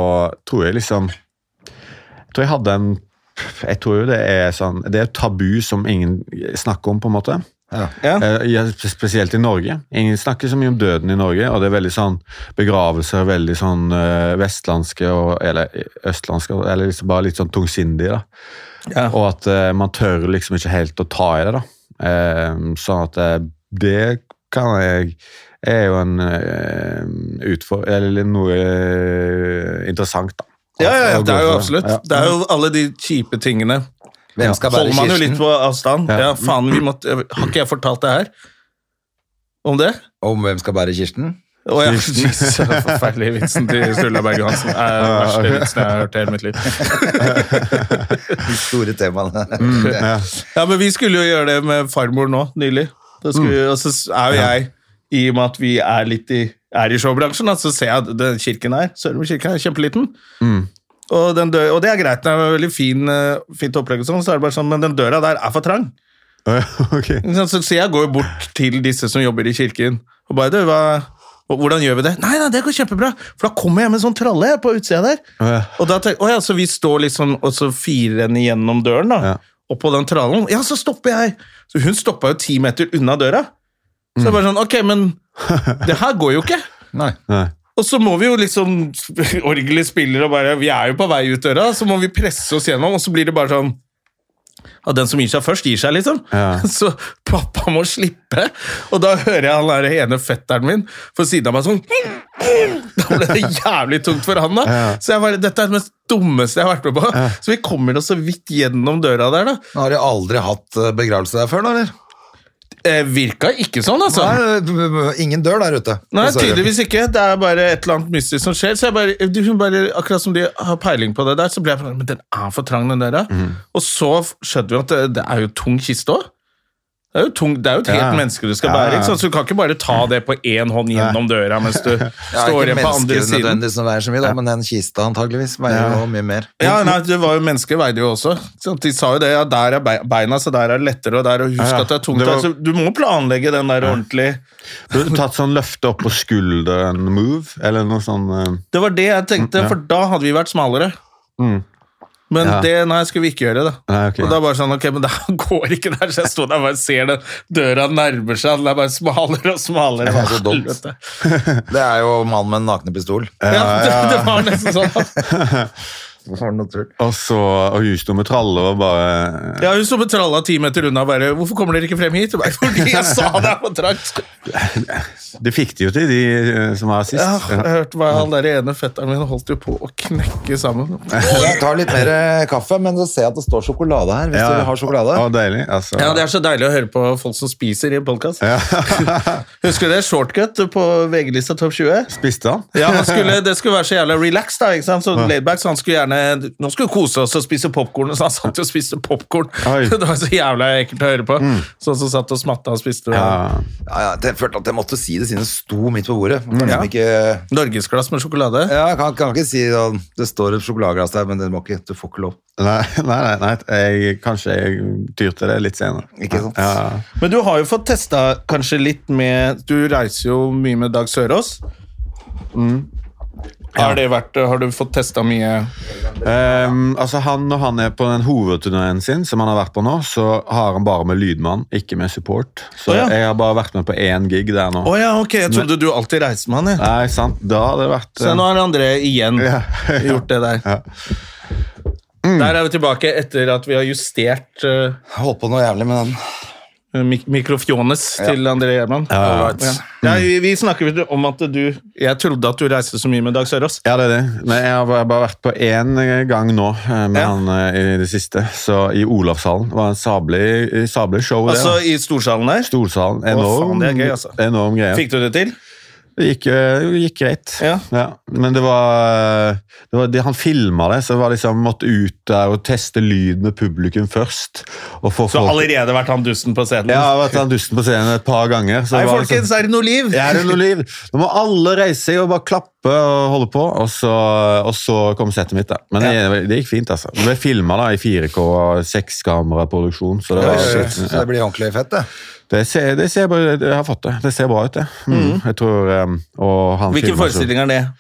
Speaker 3: tror jeg liksom Jeg tror jeg hadde en Jeg tror jo det er sånn Det er et tabu som ingen snakker om, på en måte.
Speaker 1: Ja.
Speaker 3: Eh, ja, Spesielt i Norge. Ingen snakker så mye om døden i Norge, og det er veldig sånn begravelser er veldig sånn eh, vestlandske og Eller eh, østlandske, eller liksom bare litt sånn tungsindige, da.
Speaker 1: Ja.
Speaker 3: Og at eh, man tør liksom ikke helt å ta i det, da. Eh, sånn at eh, det kan jeg er jo en eh, utfor... Eller noe eh, interessant, da.
Speaker 1: Ja, ja, ja,
Speaker 3: Å gå
Speaker 1: det er jo
Speaker 3: for
Speaker 1: absolutt.
Speaker 3: Ja.
Speaker 1: Det er jo alle de kjipe tingene.
Speaker 2: Hvem skal bære
Speaker 1: Holder man jo litt
Speaker 2: kirsten?
Speaker 1: på avstand.
Speaker 3: Ja.
Speaker 1: Ja, faen, vi måtte, Har ikke jeg fortalt det her? Om det?
Speaker 2: Om hvem skal bære kirsten?
Speaker 1: Å ja, Jesus, den forferdelige vitsen til Sturla Berge Hansen er den verste vitsen jeg har hørt i hele mitt liv.
Speaker 2: De store temaene.
Speaker 1: Mm.
Speaker 3: Ja.
Speaker 1: Ja, men vi skulle jo gjøre det med farmor nå, nylig. Da skulle, vi- Og så er jo jeg, i og med at vi er litt i, er i showbransjen, da, så ser jeg at den kirken her, Sørmo kirke, er kjempeliten. Og, den dø- og det er greit, det er veldig fin, eh, fint opplegg og sånn, så er det bare sånn, men den døra der er for trang.
Speaker 3: Å, ja, ok.
Speaker 1: Ikke sant? Så, så jeg går jo bort til disse som jobber i kirken, og bare, du, hva... og Hvordan gjør vi det? Nei, nei, det går kjempebra, for da kommer jeg med en sånn tralle på utsida der.
Speaker 3: ja.
Speaker 1: Og da tenker, å ja, så vi står liksom, og så firer henne gjennom døren da,
Speaker 3: Ja.
Speaker 1: og på den trallen, ja, så stopper jeg. Så hun stoppa jo ti meter unna døra.
Speaker 3: Mm.
Speaker 1: Så jeg bare sånn, ok, men det her går jo ikke.
Speaker 2: Nei.
Speaker 3: Nei.
Speaker 1: Og så må vi jo liksom Orgelet spiller og bare Vi er jo på vei ut døra, så må vi presse oss gjennom, og så blir det bare sånn at den som gir seg først, gir seg, liksom.
Speaker 3: Ja.
Speaker 1: Så pappa må slippe. Og da hører jeg han der ene fetteren min på siden av meg sånn Da ble det jævlig tungt for han, da.
Speaker 3: Ja.
Speaker 1: Så jeg bare, dette er det mest dummeste jeg har vært med på. Så vi kommer da så vidt gjennom døra der, da.
Speaker 2: Nå har de aldri hatt eh, begravelse der før, nå, eller?
Speaker 1: Eh, virka ikke sånn, altså.
Speaker 2: Nei, b- b- ingen dør der ute.
Speaker 1: Nei,
Speaker 2: Dessverre.
Speaker 1: tydeligvis ikke. Det er bare et eller annet mystisk som skjer. Så jeg bare, de- hun bare, Akkurat som de har peiling på det der, så ble jeg sånn Men den er for trang, den døra.
Speaker 3: Mhm.
Speaker 1: Og så f- skjønte vi at det, det er jo tung kiste òg. Det er jo, tung, det er jo et helt
Speaker 3: Ja.
Speaker 1: menneske du skal
Speaker 3: Ja,
Speaker 1: bære.
Speaker 3: ja. Mm.
Speaker 1: Ikke sant? Så du kan ikke bare ta det på én hånd gjennom døra mens du
Speaker 2: Ja,
Speaker 1: står igjen
Speaker 2: ikke
Speaker 1: på andre
Speaker 2: mennesker
Speaker 1: siden.
Speaker 2: nødvendigvis som veier så mye, da, men den kista antageligvis veier jo mye mer.
Speaker 1: Ja, nei, det var jo Mennesker veide jo også. ikke sant? De sa jo det. ja, Der er bei- beina, så der er det lettere, og der og husk
Speaker 3: Ja, ja.
Speaker 1: at det er tungt.
Speaker 3: Det var-
Speaker 1: altså, du må planlegge den der ordentlig.
Speaker 3: Burde du tatt sånn løfte opp på skulderen-move, eller noe sånn eh,
Speaker 1: Det var det jeg tenkte, for da hadde vi vært smalere.
Speaker 3: Mm.
Speaker 1: Men
Speaker 3: Ja.
Speaker 1: det nei, skulle vi ikke gjøre, da.
Speaker 3: Nei, ok.
Speaker 1: Og da bare sånn, ok, men det her går ikke der, så jeg står der og bare ser den døra nærmer seg, den er bare smalere og smalere.
Speaker 2: Det er så dumt.
Speaker 1: Helvete.
Speaker 2: Det er jo mannen med den nakne pistol.
Speaker 1: Ja, det, det var nesten sånn.
Speaker 2: Var det noe tull?
Speaker 3: Og så og hun sto med traller og bare
Speaker 1: Ja, hun sto med tralla ti meter unna og bare 'Hvorfor kommer dere ikke frem hit?' Jeg bare, Fordi jeg sa det er på trangt.
Speaker 3: Det fikk de jo til, de eh, som var sist.
Speaker 1: Ja, jeg hørte hva han der ene fetteren min holdt jo på å knekke sammen.
Speaker 2: Jeg tar litt mer eh, kaffe, men så ser jeg at det står sjokolade her. Hvis dere har sjokolade.
Speaker 3: Å, deilig. Altså.
Speaker 1: Ja, Det er så deilig å høre på folk som spiser i podkast. Husker du det? Shortcut på VG-lista Topp 20?
Speaker 3: Spiste han?
Speaker 1: Ja, han skulle, Det skulle være så jævla relax, da. ikke sant? Så laidback, så han skulle gjerne Nå skulle vi kose oss og spise popkorn, så han satt jo og spiste popkorn.
Speaker 3: Oi. Mm.
Speaker 1: Det var så jævla ekkelt å høre på. Sånn som satt og smatta og spiste
Speaker 3: Ja.
Speaker 2: Ja, ja, jeg følte at jeg måtte si det siden det sto midt på bordet. Kan liksom ikke,
Speaker 1: norgesglass med sjokolade.
Speaker 2: ja, jeg kan, kan ikke si at det står et sjokoladeglass der, men det må ikke, du får ikke lov.
Speaker 3: Nei, nei, nei, nei. Jeg, kanskje jeg tyr til det litt senere.
Speaker 2: Ikke sant?
Speaker 3: Ja.
Speaker 1: Men du har jo fått testa kanskje litt med Du reiser jo mye med Dag Sørås.
Speaker 3: Mm.
Speaker 1: Har, det vært, har du fått testa mye
Speaker 3: Ehm, altså han, Når han er på den hovedturneen sin, som han har vært på nå, så har han bare med lydmann, ikke med support. Så
Speaker 1: Å, ja.
Speaker 3: jeg har bare vært med på én gig der nå.
Speaker 1: Å ja, ok, jeg trodde du alltid reiste med han, jeg.
Speaker 3: Nei, sant? Da hadde det vært
Speaker 1: Så nå har André igjen
Speaker 3: Ja.
Speaker 1: gjort det der.
Speaker 3: Ja. Mm.
Speaker 1: Der er vi tilbake etter at vi har justert eh,
Speaker 2: Jeg holdt på noe jævlig med den.
Speaker 1: Mik Mikrofjones til André Gjerman.
Speaker 3: Ja, ja.
Speaker 1: Ja. Ja, vi, vi snakker vel om at du Jeg trodde at du reiste så mye med Dag Sørås.
Speaker 3: Ja, det er det. Men jeg har bare- bare vært på én gang nå eh, med
Speaker 1: Ja.
Speaker 3: han eh, i det siste. Så I Olavshallen. Det var en sablig, sablig show. det,
Speaker 1: Altså
Speaker 3: da.
Speaker 1: i storsalen der.
Speaker 3: Storsalen.
Speaker 1: faen,
Speaker 3: Enorm,
Speaker 1: det er gøy, altså.
Speaker 3: enorm greie.
Speaker 1: Fikk du det til?
Speaker 3: Det gikk, eh, det gikk greit.
Speaker 1: Ja.
Speaker 3: Men det var, eh, det var det, Han filma det, så det var liksom, måtte ut der og teste lyd med publikum først. Og få
Speaker 1: Du har
Speaker 3: folk-
Speaker 1: allerede vært han dusten på scenen?
Speaker 3: Ja, jeg har vært han dusten på scenen et par ganger. så
Speaker 1: Nei,
Speaker 3: det var liksom-
Speaker 1: folkens, er det noe liv?
Speaker 3: Ja, det er noe liv. Nå må alle reise seg og bare klappe og holde på, og så, og så kom settet mitt. da. Men det, det gikk fint, altså. Det ble filma i 4K og sekskammeraproduksjon, så det,
Speaker 2: Oi,
Speaker 3: var,
Speaker 2: shit, Så det blir ordentlig fett, det.
Speaker 3: det, ser, det ser bra Jeg har fått det. Det ser bra ut, det. Mm. Jeg tror, um, og han
Speaker 1: Hvilken
Speaker 3: filmer så-
Speaker 1: forestilling er det?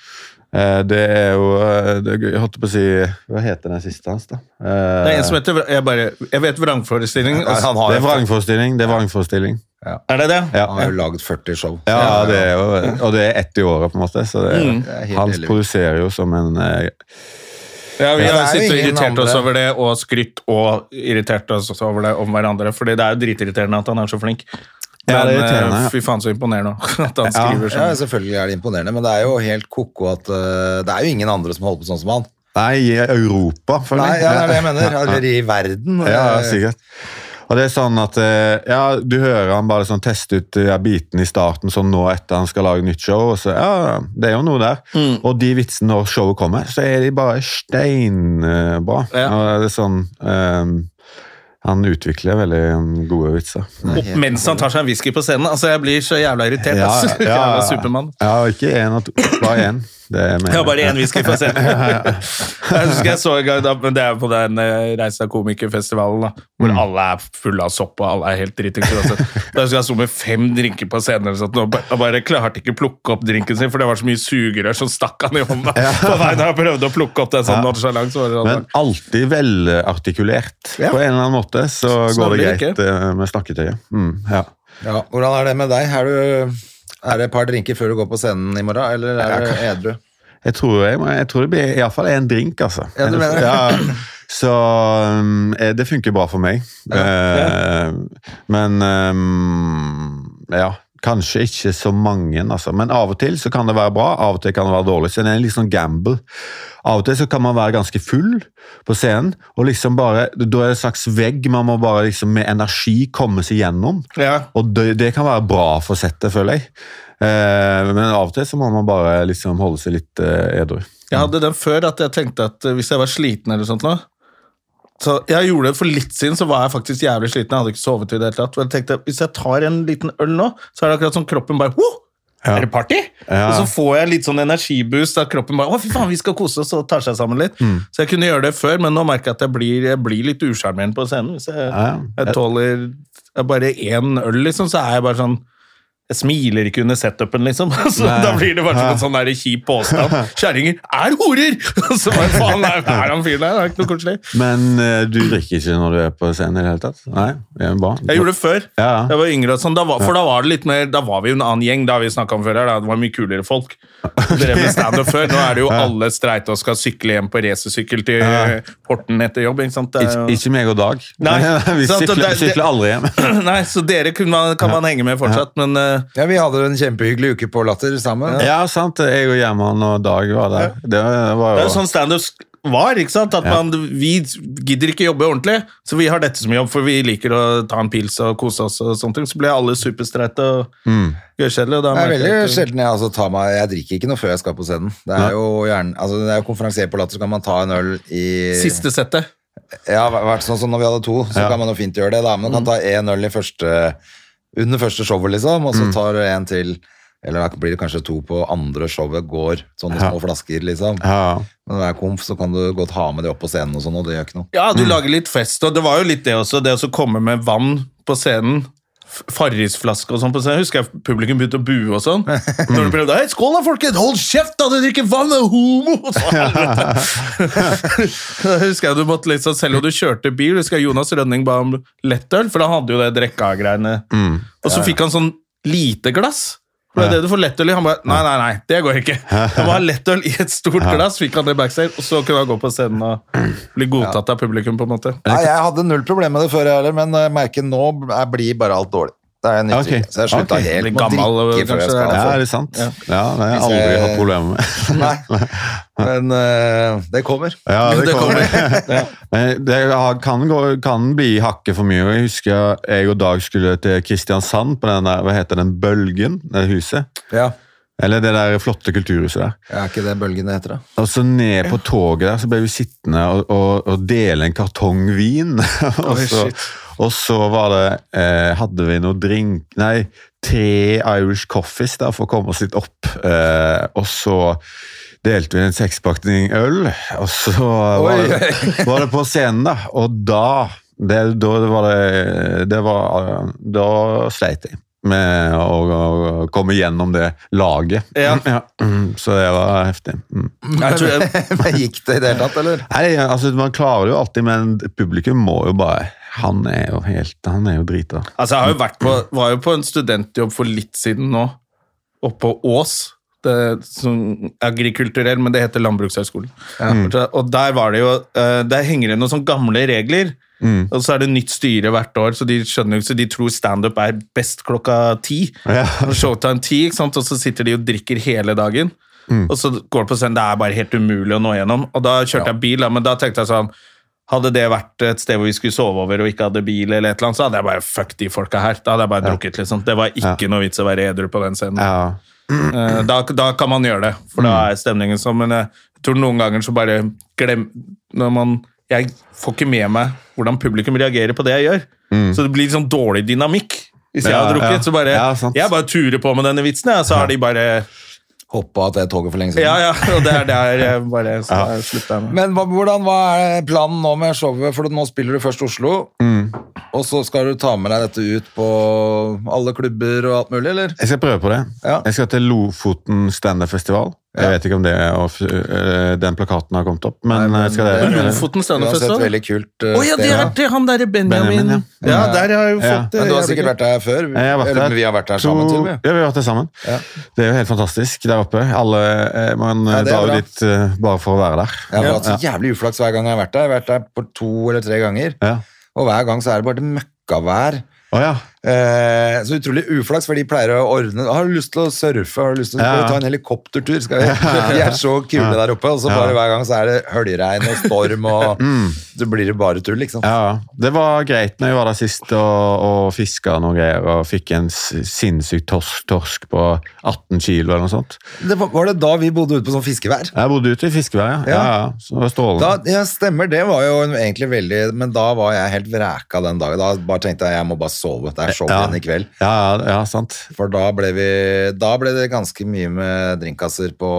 Speaker 3: Eh, Det er jo eh, det, Jeg holdt på å si Hva heter den siste hans, da? Eh,
Speaker 1: Det er en som heter Jeg, bare, jeg vet vrangforestilling.
Speaker 2: Nei, han
Speaker 1: altså.
Speaker 2: har
Speaker 3: det er
Speaker 2: jo,
Speaker 3: vrangforestilling. Det er vrangforestilling.
Speaker 1: Er det det?
Speaker 3: Ja.
Speaker 2: han har jo laget 40 show.
Speaker 3: Ja, det er jo, og det er ett i året, på en måte. Så det,
Speaker 2: Det er helt
Speaker 3: han
Speaker 2: ellevilt.
Speaker 3: produserer jo som en eh,
Speaker 1: Ja, vi har
Speaker 2: Ja, det er jo
Speaker 1: sittet og
Speaker 2: ingen
Speaker 1: irritert oss
Speaker 2: andre.
Speaker 1: over det, og skrytt og irritert oss over det om hverandre. Fordi det er jo dritirriterende at han er så flink. Men
Speaker 3: Ja, det er irriterende,
Speaker 1: eh,
Speaker 3: ja.
Speaker 1: fy faen så imponerende at han skriver
Speaker 2: Ja,
Speaker 1: sånn.
Speaker 2: selvfølgelig er det imponerende, men det er jo helt koko at eh, Det er jo ingen andre som holder på sånn som han.
Speaker 3: Nei, i Europa, føler
Speaker 2: Nei,
Speaker 3: jeg.
Speaker 2: ja, det er det jeg mener. Eller i verden.
Speaker 3: Ja, ja, altså.
Speaker 2: eh,
Speaker 3: sikkert. Og det er sånn at eh, ja, Du hører han bare sånn teste ut ja, bitene i starten sånn nå etter han skal lage nytt show. og så, ja, Det er jo noe der.
Speaker 2: Mm.
Speaker 3: Og de vitsene når showet kommer, så er de bare steinbra.
Speaker 1: Ja.
Speaker 3: Og det er sånn eh, Han utvikler veldig mm, gode vitser.
Speaker 1: Opp mens han tar seg en whisky på scenen. Altså, jeg blir så jævla irritert.
Speaker 3: Ja,
Speaker 1: ass.
Speaker 3: ja, ja.
Speaker 1: Jævla Supermann.
Speaker 3: Ja, og ikke én og to. Bare én. Det er mer-
Speaker 1: Jeg har bare én whisky fra scenen. Jeg husker jeg så en gang, da, men det er på den eh, Reisa komikerfestivalen, da, hvor alle er fulle av sopp og alle er helt dritings. uansett. Da husker jeg sto med fem drinker på scenen eller sånt, og ba- og bare klarte ikke plukke opp drinken sin, for det var så mye sugerør som stakk han i hånda. På vei da jeg prøvde å plukke opp den sånn nonchalant, så var det
Speaker 3: Men
Speaker 1: sånn.
Speaker 3: alltid velartikulert.
Speaker 2: Ja.
Speaker 3: På en eller annen måte så går det
Speaker 1: Snarere
Speaker 3: greit eh, med snakketøyet. Mm, ja.
Speaker 2: Ja, hvordan er det med deg? Er, du, er det et par drinker før du går på scenen i morgen, eller er du edru?
Speaker 3: Jeg tror, jeg, jeg tror det blir iallfall én drink, altså.
Speaker 2: Ja, du mener det?
Speaker 3: Ja, så um, eh, det funker bra for meg. Eh, Men um, ja. Kanskje ikke så mange, altså. men av og til så kan det være bra, av og til kan det være dårlig. Så det er en litt sånn gamble. Av og til så kan man være ganske full på scenen, og liksom bare, da er det en slags vegg man må bare liksom med energi komme seg gjennom.
Speaker 1: Ja.
Speaker 3: Og det, det kan være bra for settet, føler jeg. Eh, men av og til så må man bare liksom holde seg litt eh, edru.
Speaker 1: Jeg hadde den før at jeg tenkte at eh, hvis jeg var sliten eller sånt nå, så jeg gjorde det for litt siden, så var jeg faktisk jævlig sliten. Jeg hadde ikke sovet i det hele tatt. Og jeg tenkte, hvis jeg tar en liten øl nå, så er det akkurat som kroppen bare Woo! Er det party?
Speaker 3: Ja.
Speaker 1: Og så får jeg litt sånn energiboost av kroppen. bare, å fy faen, vi skal kose oss og tar seg sammen litt.
Speaker 3: Mm.
Speaker 1: Så jeg kunne gjøre det før, men nå merker jeg at jeg blir, jeg blir litt usjarmerende på scenen. Hvis jeg,
Speaker 3: Ja, ja.
Speaker 1: jeg tåler jeg bare én øl, liksom, så er jeg bare sånn jeg smiler ikke under setupen, liksom. Så
Speaker 3: Nei.
Speaker 1: da blir det bare som en sånn der kjip påstand. Kjerringer er horer! Så bare faen, er, er han fyren der? Det er ikke noe koselig.
Speaker 3: Men eh, du drikker ikke når du er på scenen i det hele tatt? Nei, det er bra.
Speaker 1: Jeg gjorde det før.
Speaker 3: Ja, ja.
Speaker 1: Jeg var yngre, og sånn, da var, for da var det litt mer, da var vi jo en annen gjeng. Da har vi snakket om før her, da. Det var mye kulere folk. Dere med stand-up før. Nå er det jo alle streite og skal sykle hjem på racersykkel til eh, Horten etter jobb. ikke sant? Det er
Speaker 3: Ik
Speaker 1: jo-
Speaker 3: ikke meg og Dag.
Speaker 1: Nei,
Speaker 3: Vi
Speaker 1: sant, og
Speaker 3: sykler,
Speaker 1: det- det-
Speaker 3: sykler aldri hjem.
Speaker 1: Nei, så dere kunne man, kan man henge med fortsatt, men eh,
Speaker 2: Ja, vi hadde en kjempehyggelig uke på Latter sammen.
Speaker 3: Ja, sant. Jeg og Gjerman og Dag var der. Det var
Speaker 1: det
Speaker 3: jo
Speaker 1: er jo sånn stand-up sk- var, ikke sant? At man, vi gidder ikke jobbe ordentlig, så vi har dette som jobb, for vi liker å ta en pils og kose oss og sånne ting. Så ble alle superstreite og gørrkjedelige. og da
Speaker 2: Det er
Speaker 1: merker
Speaker 2: veldig
Speaker 1: jeg
Speaker 3: eh,
Speaker 1: at- eh,
Speaker 2: sjelden jeg altså tar meg Jeg drikker ikke noe før jeg skal på scenen. Det er jo gjerne Altså, det er jo konferansier på Latter, så kan man ta en øl i
Speaker 1: Siste settet.
Speaker 2: Ja, hva- vært sånn som når vi hadde to, så
Speaker 3: Ja. Mm.
Speaker 2: kan man jo fint gjøre det, da. Men man kan ta én øl i første Under første showet, liksom, og så tar du en til Eller da blir det kanskje to på andre showet, går sånne små flasker, liksom.
Speaker 3: ja.
Speaker 2: Men når det er komf, så kan du godt ha med det opp på scenen og sånn, og det gjør ikke noe.
Speaker 1: Ja, du lager litt fest, og det var jo litt det også, det å så komme med vann på scenen. f- Farrisflaske og sånn på scenen. Husker jeg publikum begynte å bue og sånn. Når du prøvde Hei, skål da, folkens! Hold kjeft, da! Du drikker vann, du er homo! Og så, helvete. da husker jeg du måtte liksom, Selv om du kjørte bil, husker jeg Jonas Rønning ba om lettøl, for han hadde jo det drekka-greiene. Og så fikk han sånn lite glass. For det er det du får lettøl i. Han bare Nei, nei, nei, det går ikke. Jeg må ha lettøl i et stort glass, fikk han det backstage, og så kunne han gå på scenen og bli godtatt av publikum, på en måte.
Speaker 2: Nei, jeg hadde null problem med det før, jeg heller, men jeg merker nå jeg blir bare alt dårlig. Det er jeg nytt,
Speaker 3: Ja, ok.
Speaker 2: Så jeg slutta
Speaker 3: Ok.
Speaker 2: helt
Speaker 1: Blir
Speaker 2: med å
Speaker 1: gammel,
Speaker 2: drikke før
Speaker 1: kanskje
Speaker 2: jeg
Speaker 1: det er
Speaker 2: skal
Speaker 3: Ja,
Speaker 2: ha
Speaker 3: er
Speaker 2: folk.
Speaker 3: det sant? Ja, det har jeg
Speaker 2: Hvis
Speaker 3: aldri
Speaker 2: jeg-
Speaker 3: hatt problemer med.
Speaker 2: Nei. Men eh, det kommer.
Speaker 3: Ja, det
Speaker 2: Det
Speaker 3: kommer.
Speaker 2: kommer.
Speaker 3: Men det har- kan, gå, kan bli hakket for mye. og Jeg husker jeg og Dag skulle til Kristiansand på den der, hva heter den, Bølgen, det huset.
Speaker 2: Ja.
Speaker 3: Eller det der flotte kulturhuset der.
Speaker 2: Er ikke det bølgen det heter, da?
Speaker 3: Og så ned på toget der, så ble vi sittende og, og, og dele en kartong vin. og, så,
Speaker 1: shit.
Speaker 3: og så var det eh, Hadde vi noe drink Nei, tre Irish coffees der for å komme oss litt opp. Eh, og så delte vi en sekspakning øl, og så var
Speaker 2: Oi,
Speaker 3: det, var det på scenen, da. Og da det, Da var det, det var, Da sleit jeg med å, å komme gjennom det laget.
Speaker 1: Ja.
Speaker 3: Mm, Så det var heftig. Mm.
Speaker 1: Jeg tror jeg,
Speaker 2: Men Gikk det i det hele tatt, eller?
Speaker 3: Nei, altså Man klarer det jo alltid, men publikum må jo bare Han er jo helt, han er jo drita.
Speaker 1: altså, jeg har jo vært på, var jo på en studentjobb for litt siden nå, oppå Ås. Det, er sånn agrikulturell, men det heter Landbrukshøgskolen. Og der var det jo eh, Der henger det noen sånne gamle regler. Og så er det nytt styre hvert år, så de skjønner jo ikke, så de tror standup er best klokka ti.
Speaker 3: Ja.
Speaker 1: Showtime ti, ikke sant? og så sitter de og drikker hele dagen. Og så går det på scenen, det er bare helt umulig å nå gjennom. Og da kjørte jeg bil, da, men da tenkte jeg sånn Hadde det vært et sted hvor vi skulle sove over og ikke hadde bil, eller et eller annet, så hadde jeg bare fuck de folka her. Da hadde jeg bare drukket, liksom. Det var ikke noe vits å være edru på den scenen.
Speaker 3: Ja.
Speaker 1: Eh, Da, da kan man gjøre det, for da er stemningen sånn. Men jeg tror noen ganger så bare glem når man, Jeg får ikke med meg hvordan publikum reagerer på det jeg gjør. Så det blir liksom dårlig dynamikk. Hvis jeg
Speaker 3: Ja,
Speaker 1: har drukket,
Speaker 3: ja.
Speaker 1: så bare
Speaker 3: Ja, sant.
Speaker 1: Jeg bare turer på med denne vitsen, jeg, så har de bare
Speaker 2: Hoppa av det toget for lenge siden.
Speaker 1: Ja, ja, og det er der jeg bare så jeg slutter jeg med.
Speaker 2: Men hva, hvordan, hva er planen nå med showet? For nå spiller du først Oslo, og så skal du ta med deg dette ut på alle klubber og alt mulig, eller?
Speaker 3: Jeg skal prøve på det.
Speaker 2: Ja.
Speaker 3: Jeg skal til Lofoten standup-festival. Jeg
Speaker 2: Ja.
Speaker 3: vet ikke om det er, off- øh, den plakaten har kommet opp,
Speaker 2: Nei,
Speaker 3: men,
Speaker 2: men
Speaker 3: jeg skal det.
Speaker 2: det er
Speaker 1: Lofoten
Speaker 2: Uansett,
Speaker 1: standup-festival?
Speaker 2: veldig kult eh,
Speaker 1: Å ja, det
Speaker 2: sted,
Speaker 1: er
Speaker 2: ja.
Speaker 1: til han derre Benjamin.
Speaker 3: Benjamin,
Speaker 1: ja. der har jeg jo
Speaker 3: Ja.
Speaker 1: fått eh,
Speaker 2: Men du har
Speaker 1: jeg vet
Speaker 2: sikkert
Speaker 1: ikke.
Speaker 2: vært der før?
Speaker 3: Eh, Jeg har vært
Speaker 2: eller
Speaker 3: der
Speaker 2: vi har vært der
Speaker 3: to-
Speaker 2: sammen, til og med.
Speaker 3: Ja, vi har vært der sammen.
Speaker 2: Ja.
Speaker 3: Det er jo helt fantastisk der oppe. Alle, eh, man
Speaker 2: Ja, det er
Speaker 3: drar
Speaker 2: bra.
Speaker 3: jo dit eh, bare for å være der.
Speaker 2: Jeg har hatt så jævlig uflaks hver gang jeg har vært der. Jeg har vært der på to eller tre ganger,
Speaker 3: Ja.
Speaker 2: og hver gang så er det bare et møkkavær.
Speaker 3: Å ja.
Speaker 2: Eh, så utrolig uflaks, for de pleier å ordne Har du lyst til å surfe? Har du lyst til å
Speaker 3: Ja.
Speaker 2: skal vi ta en helikoptertur? Skal vi? De er så kule der oppe, og så bare hver gang så er det høljregn og storm, og så blir det bare tull, liksom. ikke sant?
Speaker 3: Mm. Ja, ja. det var greit når jeg var der sist og, og fiska noen greier og fikk en s- sinnssyk torsk, torsk på 18 kilo eller noe sånt.
Speaker 2: Det var, var det da vi bodde ute på sånn fiskevær?
Speaker 3: Jeg bodde ute i fiskevær, ja. ja. ja, Så det var strålende.
Speaker 2: Da, ja, stemmer, det var jo egentlig veldig Men da var jeg helt vreka den dagen. Da bare tenkte jeg jeg må bare sove. Det er show
Speaker 3: Ja.
Speaker 2: igjen i kveld.
Speaker 3: Ja, ja, ja, sant.
Speaker 2: For da ble, vi, da ble det ganske mye med drinkkasser på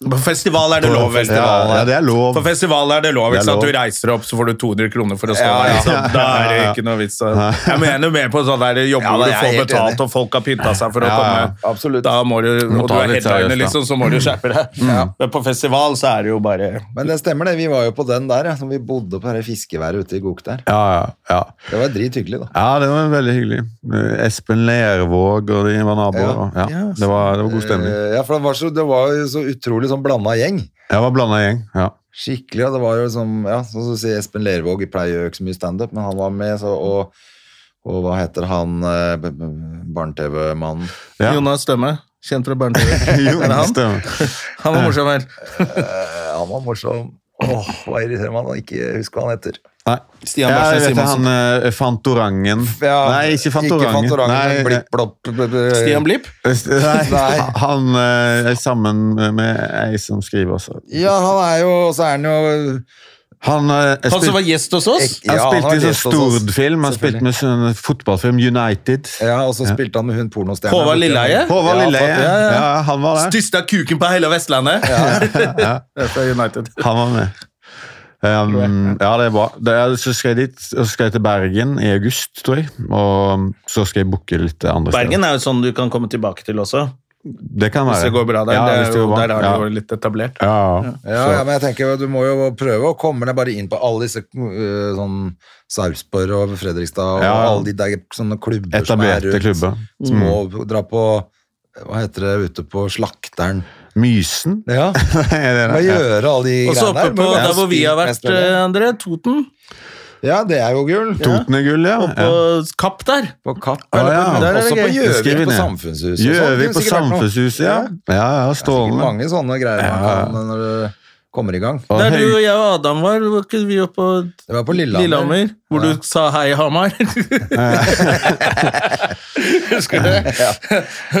Speaker 1: På festival er det lov. vel?
Speaker 3: Ja, ja, det er lov.
Speaker 1: På festival er det lov.
Speaker 3: Det er
Speaker 1: Ikke sant?
Speaker 3: lov.
Speaker 1: Du reiser opp, så får du 200 kroner for å stå
Speaker 2: Ja,
Speaker 1: der.
Speaker 2: ja.
Speaker 1: ikke sant? Da er det ikke noe vits. å- Jeg mener mer på sånn der jobber
Speaker 2: Ja, da,
Speaker 1: hvor du
Speaker 2: jeg er
Speaker 1: får
Speaker 2: helt
Speaker 1: betalt,
Speaker 2: enig.
Speaker 1: og folk har pynta seg for å
Speaker 3: Ja, ja.
Speaker 1: komme.
Speaker 2: Absolutt.
Speaker 1: Da må du,
Speaker 3: må
Speaker 1: og du
Speaker 3: ta
Speaker 1: er
Speaker 3: det litt
Speaker 1: helt aleine,
Speaker 3: seriøst, da.
Speaker 1: liksom, så må du skjerpe deg. Men på festival så er det jo bare
Speaker 2: Men det stemmer, det. Vi var jo på den der, ja. Når vi bodde på det fiskeværet ute i Gok der.
Speaker 3: Ja, ja, ja.
Speaker 2: Det var drithyggelig, da.
Speaker 3: ja, det var veldig hyggelig. Eh, Espen Lervåg og de var naboer. og- Ja.
Speaker 2: Ja,
Speaker 3: Det, var, det var god stemning.
Speaker 2: Eh, Ja, for det var, så, det var jo så utrolig sånn blanda gjeng.
Speaker 3: Jeg var blanda gjeng. Ja.
Speaker 2: Skikkelig. Og det var jo som ja, sånn som du sier, Espen Lervåg pleier jo ikke så mye standup, men han var med, så og og hva heter han eh, b- b- barne-TV-mannen?
Speaker 3: Ja.
Speaker 1: Jonas Stømme. Kjent fra barne-TV.
Speaker 3: Jo,
Speaker 1: Er det han?
Speaker 3: stemmer.
Speaker 1: Han var morsom her.
Speaker 2: Eh, Han var morsom. Åh, hva irriterer meg at han ikke husker hva han heter.
Speaker 3: Nei.
Speaker 1: Stian
Speaker 3: Ja,
Speaker 1: Bergstein
Speaker 3: jeg vet det,
Speaker 1: Simonsen.
Speaker 3: han eh, Fantorangen.
Speaker 2: Ja,
Speaker 3: Nei, ikke Fantorangen.
Speaker 2: Ikke Fantorangen,
Speaker 3: Nei,
Speaker 2: men blipp, blopp, bl- bl-
Speaker 1: Stian Blipp.
Speaker 3: Nei,
Speaker 2: Nei.
Speaker 3: han eh, er sammen med ei som skriver også.
Speaker 2: Ja, han er jo Og så er han jo
Speaker 3: Han, eh,
Speaker 1: Han som
Speaker 3: spil-
Speaker 1: var gjest hos oss.
Speaker 2: Ja,
Speaker 3: han
Speaker 2: han
Speaker 3: spilte
Speaker 2: har
Speaker 3: i sånn
Speaker 2: lest hos oss,
Speaker 3: Stord-film, han spilte med sånn fotballfilm United.
Speaker 2: Ja, og så spilte han med hun pornostjerna.
Speaker 1: Håvard Lilleheie.
Speaker 3: Håvard
Speaker 2: Ja,
Speaker 3: Lilleheie.
Speaker 2: faktisk,
Speaker 3: Ja,
Speaker 2: ja, ja.
Speaker 3: han var der.
Speaker 1: Største kuken på hele Vestlandet. Det er fra United.
Speaker 3: Han var med. Um, ja, det er bra. Det er, så skal jeg dit, og så skal jeg til Bergen i august, tror jeg. Og um, så skal jeg booke litt andre
Speaker 1: Bergen er jo sånn du kan komme tilbake til også,
Speaker 3: steder. Det kan være.
Speaker 1: hvis det går bra der.
Speaker 3: Ja,
Speaker 1: Det
Speaker 3: hvis
Speaker 1: er
Speaker 3: det går
Speaker 1: jo,
Speaker 3: bra.
Speaker 1: der er det
Speaker 3: ja.
Speaker 1: jo litt etablert.
Speaker 3: Ja,
Speaker 2: Ja,
Speaker 3: Så-
Speaker 2: ja, men jeg tenker jo, Du må jo prøve å komme deg bare inn på alle disse øh, sånn Sarpsborg og Fredrikstad og
Speaker 3: Ja.
Speaker 2: alle de der sånne klubber
Speaker 1: Mm.
Speaker 3: Etablerte klubber.
Speaker 2: Som må dra på Hva heter det ute på slakteren?
Speaker 3: Mysen?
Speaker 2: Ja.
Speaker 3: Er det
Speaker 2: Hva
Speaker 3: det?
Speaker 2: gjøre alle de
Speaker 1: Og så
Speaker 2: greiene
Speaker 1: oppe
Speaker 2: der?
Speaker 1: på
Speaker 2: Må være
Speaker 1: der hvor vi har
Speaker 2: spilt
Speaker 1: vært,
Speaker 2: mest mulig.
Speaker 1: eh, André. Toten.
Speaker 2: Ja, det er jo gull.
Speaker 3: Toten er gull, ja.
Speaker 1: Oppå
Speaker 3: ja.
Speaker 1: Kapp der.
Speaker 2: På Kapp.
Speaker 3: Ah, ja.
Speaker 2: eller på-
Speaker 3: Der er det
Speaker 2: Også på
Speaker 3: gøy. Skriv
Speaker 2: Gjøvik,
Speaker 3: ned.
Speaker 2: på Samfunnshuset. og sånn.
Speaker 3: Gjøvik
Speaker 2: Det kunne
Speaker 3: på
Speaker 2: sikkert vært noe.
Speaker 3: Samfunnshuset, ja. Ja, ja,
Speaker 2: Sikkert
Speaker 3: stålende.
Speaker 2: mange sånne greier man
Speaker 3: Ja.
Speaker 2: kan når det kommer i gang.
Speaker 3: Og
Speaker 1: Der du
Speaker 3: høy-
Speaker 1: og jeg og Adam var, var ikke vi oppe på
Speaker 2: Det var på Lillehammer.
Speaker 1: Lillehammer, hvor du sa hei, Hamar. Husker du det?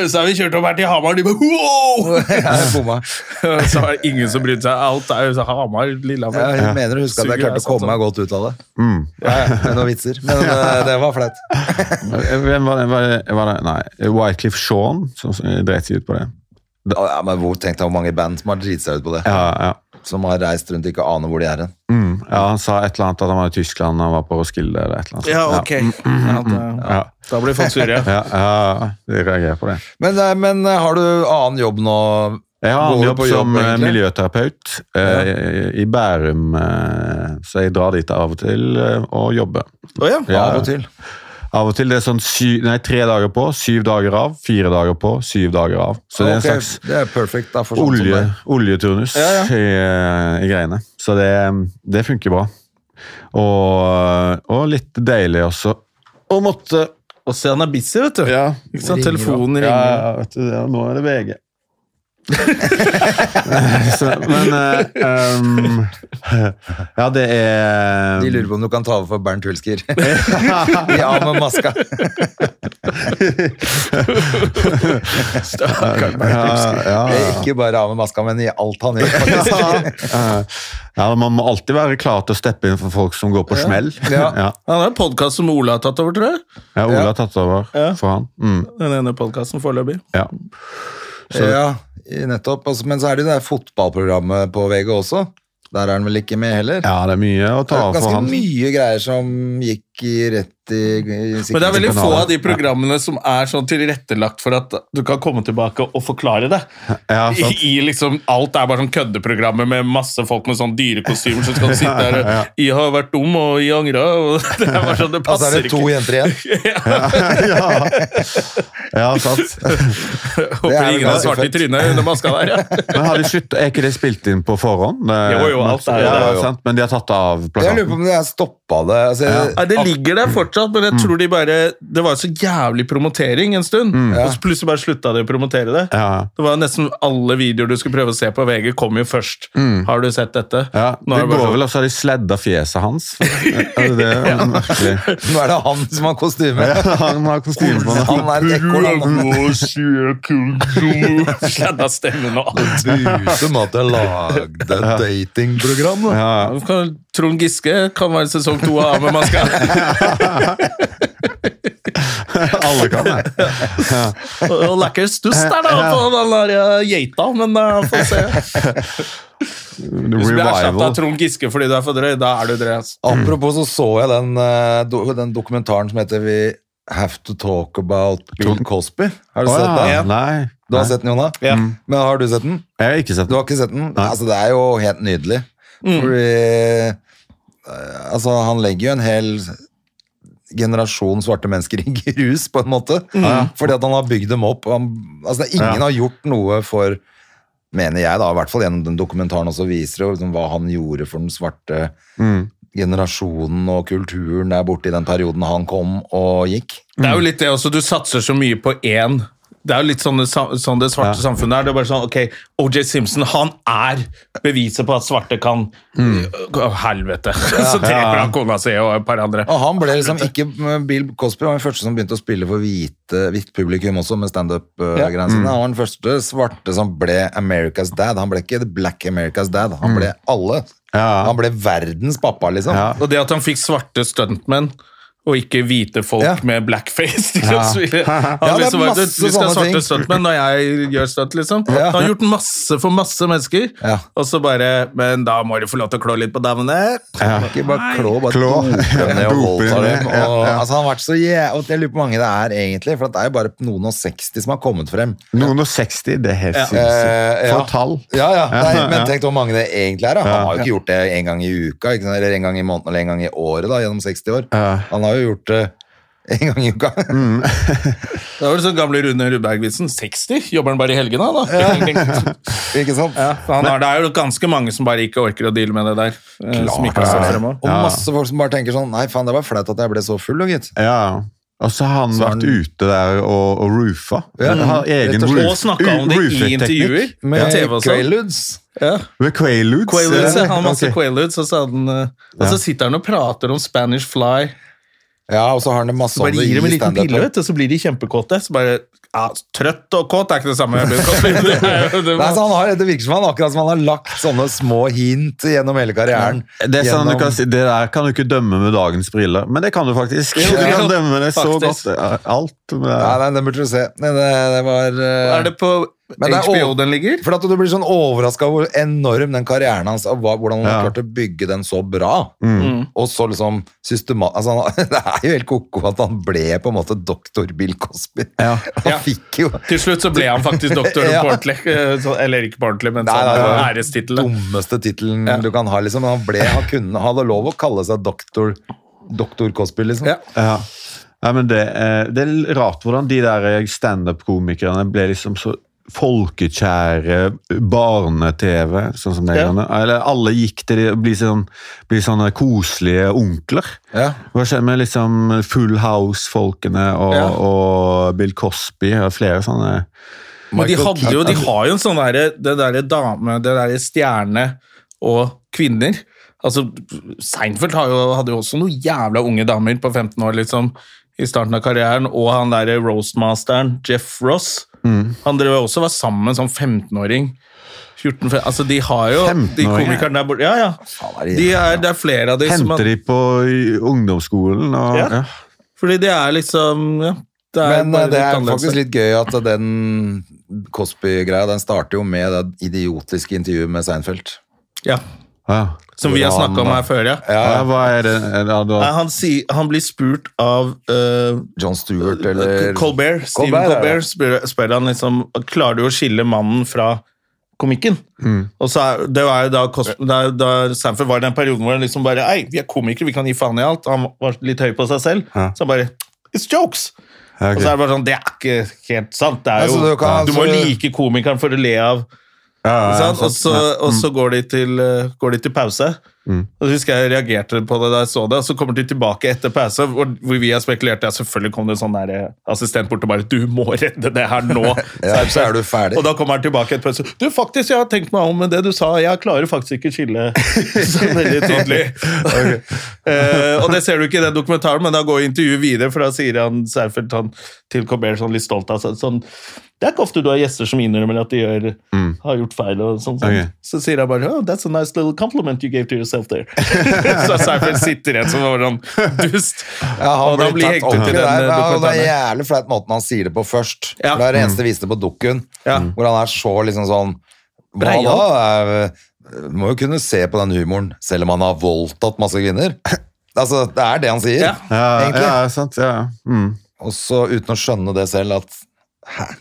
Speaker 1: Så har vi kjørt opp her til Hamar, og de bare wow!
Speaker 2: Ja, jeg bomma.
Speaker 1: Så var det ingen som brydde seg. Alt er jo så Hamar, Lillehammer.
Speaker 2: Jeg mener du husker at
Speaker 1: Suger, sånn.
Speaker 2: jeg klarte å
Speaker 1: jeg satt
Speaker 2: komme meg godt ut av det.
Speaker 3: Mm.
Speaker 2: Med noen vitser. Men eh, det var flaut.
Speaker 3: Hvem var det? Var det, var det? Nei, Wycliffe Shaun som dreit seg ut på det.
Speaker 2: Ja, men hvor, Tenk deg hvor mange band som har driti seg ut på det.
Speaker 3: Ja, ja.
Speaker 2: Som har reist rundt og ikke aner hvor de er hen.
Speaker 3: Mm. ja, Han sa et eller annet at han var i Tyskland, han var på Roskilde eller et eller annet.
Speaker 1: Ja,
Speaker 3: sånt.
Speaker 1: ok. Ja, da-
Speaker 3: Ja,
Speaker 1: Da blir folk sure.
Speaker 3: ja, ja, ja. Jeg reagerer på det.
Speaker 2: Men, eh, men eh, har du annen jobb nå?
Speaker 3: Jeg har
Speaker 2: Går
Speaker 3: annen
Speaker 2: du
Speaker 3: jobb
Speaker 2: på jobb,
Speaker 3: som eh,
Speaker 2: egentlig?
Speaker 3: miljøterapeut eh, i Bærum, eh, så jeg drar dit av og til eh, og jobber.
Speaker 1: Å ja.
Speaker 3: Ja,
Speaker 2: Av og til.
Speaker 3: Av og til det er sånn sy- nei, tre dager på, syv dager av, fire dager på, syv dager av. Så det er en
Speaker 2: Ok,
Speaker 3: slags
Speaker 2: det er perfekt da, for sånn som
Speaker 3: olje,
Speaker 2: deg.
Speaker 3: oljeturnus
Speaker 2: Ja,
Speaker 3: I, eh, i greiene. Så det, det funker bra. Og, og litt deilig også. Å måtte
Speaker 1: Og se, han er busy, vet du.
Speaker 3: Ja,
Speaker 1: Ikke sant?
Speaker 2: Ringer
Speaker 1: Telefonen ringer.
Speaker 3: ja, vet du, det, nå er det VG. så, men eh, ehm, Ja, det er
Speaker 2: De lurer på om du kan ta over for Bernt Hulsker. ja, med maska. Stakkars Bernt Hulsker.
Speaker 3: Ja, ja, ja.
Speaker 2: Ikke bare av med maska, men i alt han gjør. faktisk.
Speaker 3: Eh, ja, Man må alltid være klar til å steppe inn for folk som går på smell.
Speaker 2: Ja.
Speaker 3: ja.
Speaker 1: Han har en podkast som Ola har tatt over, tror jeg.
Speaker 3: Ja, Ola har tatt over for han. Mm,
Speaker 1: Den ene podkasten foreløpig.
Speaker 3: ja.
Speaker 2: Ja, i- nettopp. Altså, Men så er det jo det der fotballprogrammet på VG også. Der er han vel ikke med heller.
Speaker 3: ja, det er mye å
Speaker 2: Det
Speaker 3: ta
Speaker 2: er
Speaker 3: av for
Speaker 2: ganske
Speaker 3: han.
Speaker 2: mye greier som gikk i rett i, i
Speaker 1: Men det er veldig få
Speaker 3: kanaler.
Speaker 1: av de programmene som er sånn tilrettelagt for at du kan komme tilbake og forklare det.
Speaker 3: Ja,
Speaker 1: I,
Speaker 3: sant.
Speaker 1: i liksom, alt er bare sånn køddeprogrammer med masse folk med sånn dyrekostymer som skal sitte der og
Speaker 3: Ja.
Speaker 1: 'I har vært dum, og i angra', og det er bare sånn, det
Speaker 2: Altså
Speaker 1: passer
Speaker 2: er det to
Speaker 1: ikke.
Speaker 2: jenter igjen.
Speaker 3: ja. ja, sant.
Speaker 2: Det er
Speaker 1: Håper
Speaker 2: vel
Speaker 1: ingen har
Speaker 2: ganske
Speaker 1: svart i
Speaker 2: fett.
Speaker 1: trynet under maska der. Ja.
Speaker 3: Men har de slutt, Er ikke det spilt inn på forhånd? Det-
Speaker 1: Jo, jo, alt er det.
Speaker 3: ja,
Speaker 2: Jo, jo.
Speaker 3: sant? Men de har tatt det av
Speaker 2: Jeg lurer på
Speaker 3: plakaten?
Speaker 2: om jeg stoppa det. Altså, jeg-
Speaker 1: Nei, det ligger der fortsatt,
Speaker 2: Mm.
Speaker 1: men jeg tror de bare Det var jo så jævlig promotering en stund,
Speaker 2: Mm.
Speaker 1: og så plutselig bare slutta de å promotere det.
Speaker 3: Ja.
Speaker 1: Det var nesten alle videoer du skulle prøve å se på VG, kom jo først.
Speaker 2: Mm.
Speaker 1: Har du sett dette?
Speaker 3: Ja,
Speaker 1: Nå
Speaker 3: det
Speaker 1: er det bare
Speaker 3: går
Speaker 1: sånn-
Speaker 3: vel også har de sledda fjeset hans. Er det det? Merkelig.
Speaker 2: Nå er det han som har kostyme.
Speaker 3: Han har kostyme på nå.
Speaker 2: Han er et ekorn. han.
Speaker 1: Sladda stemmen og alt.
Speaker 2: Tusen at jeg lagde et datingprogram. da.
Speaker 3: Ja,
Speaker 1: Trond Giske kan være sesong to av Av med maska.
Speaker 3: alle kan det.
Speaker 1: Og lekker stuss der, da, på den der eh, geita, men eh, få se. Hvis du blir erstattet av
Speaker 3: Revival.
Speaker 1: Trond Giske fordi du er for drøy, da er du drøy. ass.
Speaker 2: Apropos så så jeg den, eh, do- den dokumentaren som heter We Have To Talk About Bill Cosby. Har du
Speaker 3: Å,
Speaker 2: sett
Speaker 3: ja.
Speaker 2: den?
Speaker 3: Nei.
Speaker 2: Du har
Speaker 3: Nei.
Speaker 2: sett den, Jonna?
Speaker 1: Ja.
Speaker 3: Mm.
Speaker 2: Men har du sett den?
Speaker 3: Jeg har ikke sett
Speaker 2: Du
Speaker 3: den.
Speaker 2: har ikke sett den? Mm.
Speaker 3: Nei.
Speaker 2: Altså, det er jo helt nydelig. Fordi eh, altså, han legger jo en hel generasjon svarte mennesker i grus, på en måte. Fordi at han har bygd dem opp. Han, altså, det er ingen
Speaker 3: Ja.
Speaker 2: har gjort noe for Mener jeg, da, i hvert fall gjennom den dokumentaren også viser jo liksom, hva han gjorde for den svarte Mm. generasjonen og kulturen der borte i den perioden han kom og gikk.
Speaker 1: Det er jo litt det også, du satser så mye på én. Det er jo litt sånn det, sam- sånn det svarte samfunnet er. Det er bare sånn, ok, O.J. Simpson han er beviset på at svarte kan
Speaker 3: Mm.
Speaker 1: Å, Helvete! Så dreper han kona si og et par andre.
Speaker 2: Og han ble liksom ikke Bill Cosby var den første som begynte å spille for hvite, hvitt publikum også, med standup-greiene
Speaker 3: Mm.
Speaker 2: sine. Han var den første svarte som ble America's dad. Han ble ikke the black America's dad, han ble alle.
Speaker 3: Mm. Ja.
Speaker 2: Han ble verdens pappa, liksom.
Speaker 3: Ja.
Speaker 1: Og det at han fikk svarte stuntmenn og ikke hvite folk
Speaker 2: Ja.
Speaker 1: med blackface ikke sant? Så vi- Han
Speaker 2: Ja, det er
Speaker 1: liksom, bare,
Speaker 2: masse
Speaker 1: du, vi skal ha
Speaker 2: sånne ting.
Speaker 1: svarte stuntmenn når jeg gjør stunt, liksom.
Speaker 2: Ja.
Speaker 1: Han har gjort masse for masse mennesker,
Speaker 2: Ja.
Speaker 1: og så bare Men da må du få lov til å klå litt på damene.
Speaker 2: Ikke bare klå, bare
Speaker 3: Klå.
Speaker 2: dope dem ned og
Speaker 3: Dope dem
Speaker 2: voldta
Speaker 3: ned,
Speaker 2: dem. Og,
Speaker 3: ja, ja.
Speaker 2: Altså, han har vært så jæ... Og jeg lurer på hvor mange det er, egentlig. For det er jo bare noen og 60 som har kommet frem.
Speaker 3: Noen og 60, det er helt
Speaker 2: Eh,
Speaker 3: sinnssykt.
Speaker 2: ja.
Speaker 3: For et tall.
Speaker 2: Ja, ja. Nei, men
Speaker 3: ja.
Speaker 2: tenk hvor mange det egentlig er. Da. Han har jo ikke gjort det en gang i uka, ikke sant? eller en gang i måneden eller en gang i året da, gjennom 60 år.
Speaker 3: Ja. Mm.
Speaker 2: Han har jo gjort det en gang i uka.
Speaker 1: Det var vel sånn gamle Rune Rudberg-vitsen. 60? Jobber han bare i helgene, da?
Speaker 2: Ikke sant?
Speaker 1: For han har, det er jo ganske mange som bare ikke orker å deale med det der. eh, som ikke har sett fremover.
Speaker 2: Og masse folk som bare tenker sånn Nei, faen, det var flaut at jeg ble så full, og gitt.
Speaker 3: Ja, og så har han
Speaker 2: Så han-
Speaker 3: vært ute der og, og roofa.
Speaker 2: Ja,
Speaker 3: Han har egen
Speaker 2: rett og slett.
Speaker 3: roof-
Speaker 1: Og snakka om det i
Speaker 3: rooferteknikk.
Speaker 1: intervjuer. På
Speaker 2: Med
Speaker 1: TV og sånn.
Speaker 2: Quaaludes.
Speaker 1: Ja.
Speaker 3: Med Quaaludes.
Speaker 1: Quaaludes, ja. Han har masse
Speaker 3: Ok.
Speaker 1: Quaaludes, og så, hadde han, eh, og
Speaker 3: Ja.
Speaker 1: så sitter han og prater om Spanish Fly.
Speaker 2: Ja, og så har han det masse
Speaker 1: Så bare gir dem en liten pille, vet du, så blir de kjempekåte. Så bare, ja, Trøtt og kåt er ikke det samme. Jeg blir kåt. Det er jo- det
Speaker 2: Nei, så
Speaker 1: var-
Speaker 2: han har, det virker som han akkurat som han har lagt sånne små hint gjennom hele karrieren.
Speaker 3: Det, er sånn
Speaker 2: Gjennom-
Speaker 3: du kan, si- det der kan du ikke dømme med dagens briller, men det kan du faktisk.
Speaker 1: Jo,
Speaker 3: du
Speaker 1: det
Speaker 3: kan
Speaker 1: kan-
Speaker 3: dømme det så
Speaker 1: faktisk.
Speaker 3: godt. Alt med
Speaker 2: Nei, nei, den burde du se. Nei, det, det var eh,
Speaker 1: Er det på
Speaker 2: Men det er
Speaker 1: HBO
Speaker 2: over-
Speaker 1: den ligger?
Speaker 2: For at du blir sånn overraska over hvor enorm den karrieren hans og hva- hvordan han har
Speaker 3: Ja.
Speaker 2: klart å bygge den så bra.
Speaker 1: Mm.
Speaker 2: Og så liksom systemat... Altså, han, det er jo helt ko-ko at han ble på en måte doktor Bill Cosby. Han
Speaker 1: Ja.
Speaker 2: fikk jo
Speaker 1: Til slutt så ble han faktisk doktor
Speaker 2: Ja.
Speaker 1: på ordentlig. eh, så- Eller ikke på ordentlig, men
Speaker 2: Nei,
Speaker 1: sånn
Speaker 2: nei, det var
Speaker 1: ærestittelen.
Speaker 2: dummeste tittelen du kan ha, liksom. Men han ble, han kunne, hadde lov å kalle seg doktor, doktor Cosby, liksom.
Speaker 1: Ja.
Speaker 3: Ja. Nei, men det, eh, det er rart hvordan de der eh, standup-komikerne ble liksom så folkekjære barne-TV, sånn som det
Speaker 1: Ja.
Speaker 3: gjerne. Eller alle gikk til de og bli sånn, bli sånne koselige onkler.
Speaker 2: Ja.
Speaker 3: Hva skjer med liksom Full House-folkene og,
Speaker 1: Ja.
Speaker 3: og Bill Cosby og flere sånne
Speaker 1: Men de,
Speaker 2: Michael
Speaker 1: hadde jo, de har jo en sånn derre Det derre dame, det derre stjerne og kvinner. Altså, Seinfeld har jo, hadde jo også noen jævla unge damer på 15 år, liksom. I starten av karrieren. Og han derre roastmasteren, Jeff Ross. Han drev jo også var sammen med en sånn 15-åring. 14, fe- altså De har jo de
Speaker 3: 15-åring, ja.
Speaker 1: komikerne der borte. Ja, ja.
Speaker 2: er det-
Speaker 1: De er, det er flere av de som har-
Speaker 3: Henter de på i ungdomsskolen og
Speaker 1: Ja.
Speaker 3: ja.
Speaker 1: Fordi det er liksom ja, det er
Speaker 2: Men eh,
Speaker 1: bare
Speaker 2: det er
Speaker 1: annerledes.
Speaker 2: faktisk litt gøy at den Cosby-greia den starter jo med det idiotiske intervjuet med Seinfeld.
Speaker 1: ja,
Speaker 3: Ja.
Speaker 1: Som vi har
Speaker 2: Hvordan,
Speaker 1: snakka om her før, ja.
Speaker 3: Ja, hva er det ja, da,
Speaker 1: Nei, han, sier- han blir spurt av eh,
Speaker 2: John Stewart eller
Speaker 1: Colbert. Steven
Speaker 2: Colbert,
Speaker 1: Colbert,
Speaker 2: ja, ja.
Speaker 1: spør, spør han liksom Klarer du å skille mannen fra komikken? Og så er, det var jo da, Cos- da, da Sanford var i den perioden hvor han liksom bare Ei, vi er komikere, vi kan gi faen i alt. Han var litt høy på seg selv.
Speaker 3: Ja.
Speaker 1: Så han bare It's jokes!
Speaker 3: Ja, ok.
Speaker 1: Og så er det bare sånn Det er ikke helt sant. Det
Speaker 2: Nei,
Speaker 1: er jo,
Speaker 2: så
Speaker 1: du,
Speaker 2: du kan-
Speaker 1: må
Speaker 2: altså-
Speaker 1: like komikeren for å le av
Speaker 3: Ja, ja,
Speaker 1: Ikke sant?
Speaker 3: ja,
Speaker 1: Og så, og
Speaker 2: Mm.
Speaker 1: så går, de til, eh, går de til pause. Og så husker jeg jeg reagerte på det da jeg så det, og så kommer de tilbake etter pause, hvor, hvor vi har spekulert ja, selvfølgelig kom det en sånn der eh, assistent bort og bare 'Du må redde det her nå'.
Speaker 2: Ja, så er du ferdig.
Speaker 1: Og da kommer han tilbake etter pause. 'Du, faktisk, jeg har tenkt meg om med det du sa. Jeg klarer faktisk ikke skille så veldig tydelig'. Eh, og det ser du ikke i den dokumentaren, men da går intervjuet videre, for da sier han Seinfeld sånn, til Colbert sånn litt stolt av seg sånn Det er ikke ofte du har gjester som innrømmer at de gjør,
Speaker 2: Mm.
Speaker 1: har gjort feil. og sånn, sånn.
Speaker 3: Ok.
Speaker 1: Så sier han bare oh, 'That's a nice little compliment you gave to yourself there'. så Seinfeld sitter igjen som en sånn dust.
Speaker 2: Ja, han
Speaker 1: og da
Speaker 2: blir
Speaker 1: blir
Speaker 2: tatt
Speaker 1: hengt ut
Speaker 2: ordentlig
Speaker 1: i den
Speaker 2: der.
Speaker 1: eh,
Speaker 2: Ja, og det er
Speaker 1: dokumentaren.
Speaker 2: jævlig flaut måten han sier det på først.
Speaker 1: Ja.
Speaker 2: For Det er det eneste de viste på dukken,
Speaker 1: Ja.
Speaker 2: hvor han er så liksom sånn Hva
Speaker 1: Breial.
Speaker 2: da? Det er- eh, Må jo kunne se på den humoren, selv om han har voldtatt masse kvinner. Altså, Det er det han sier,
Speaker 1: Ja.
Speaker 3: ja,
Speaker 2: egentlig.
Speaker 3: ja, sant, ja. Mm.
Speaker 2: Og så uten å skjønne det selv at Hæ?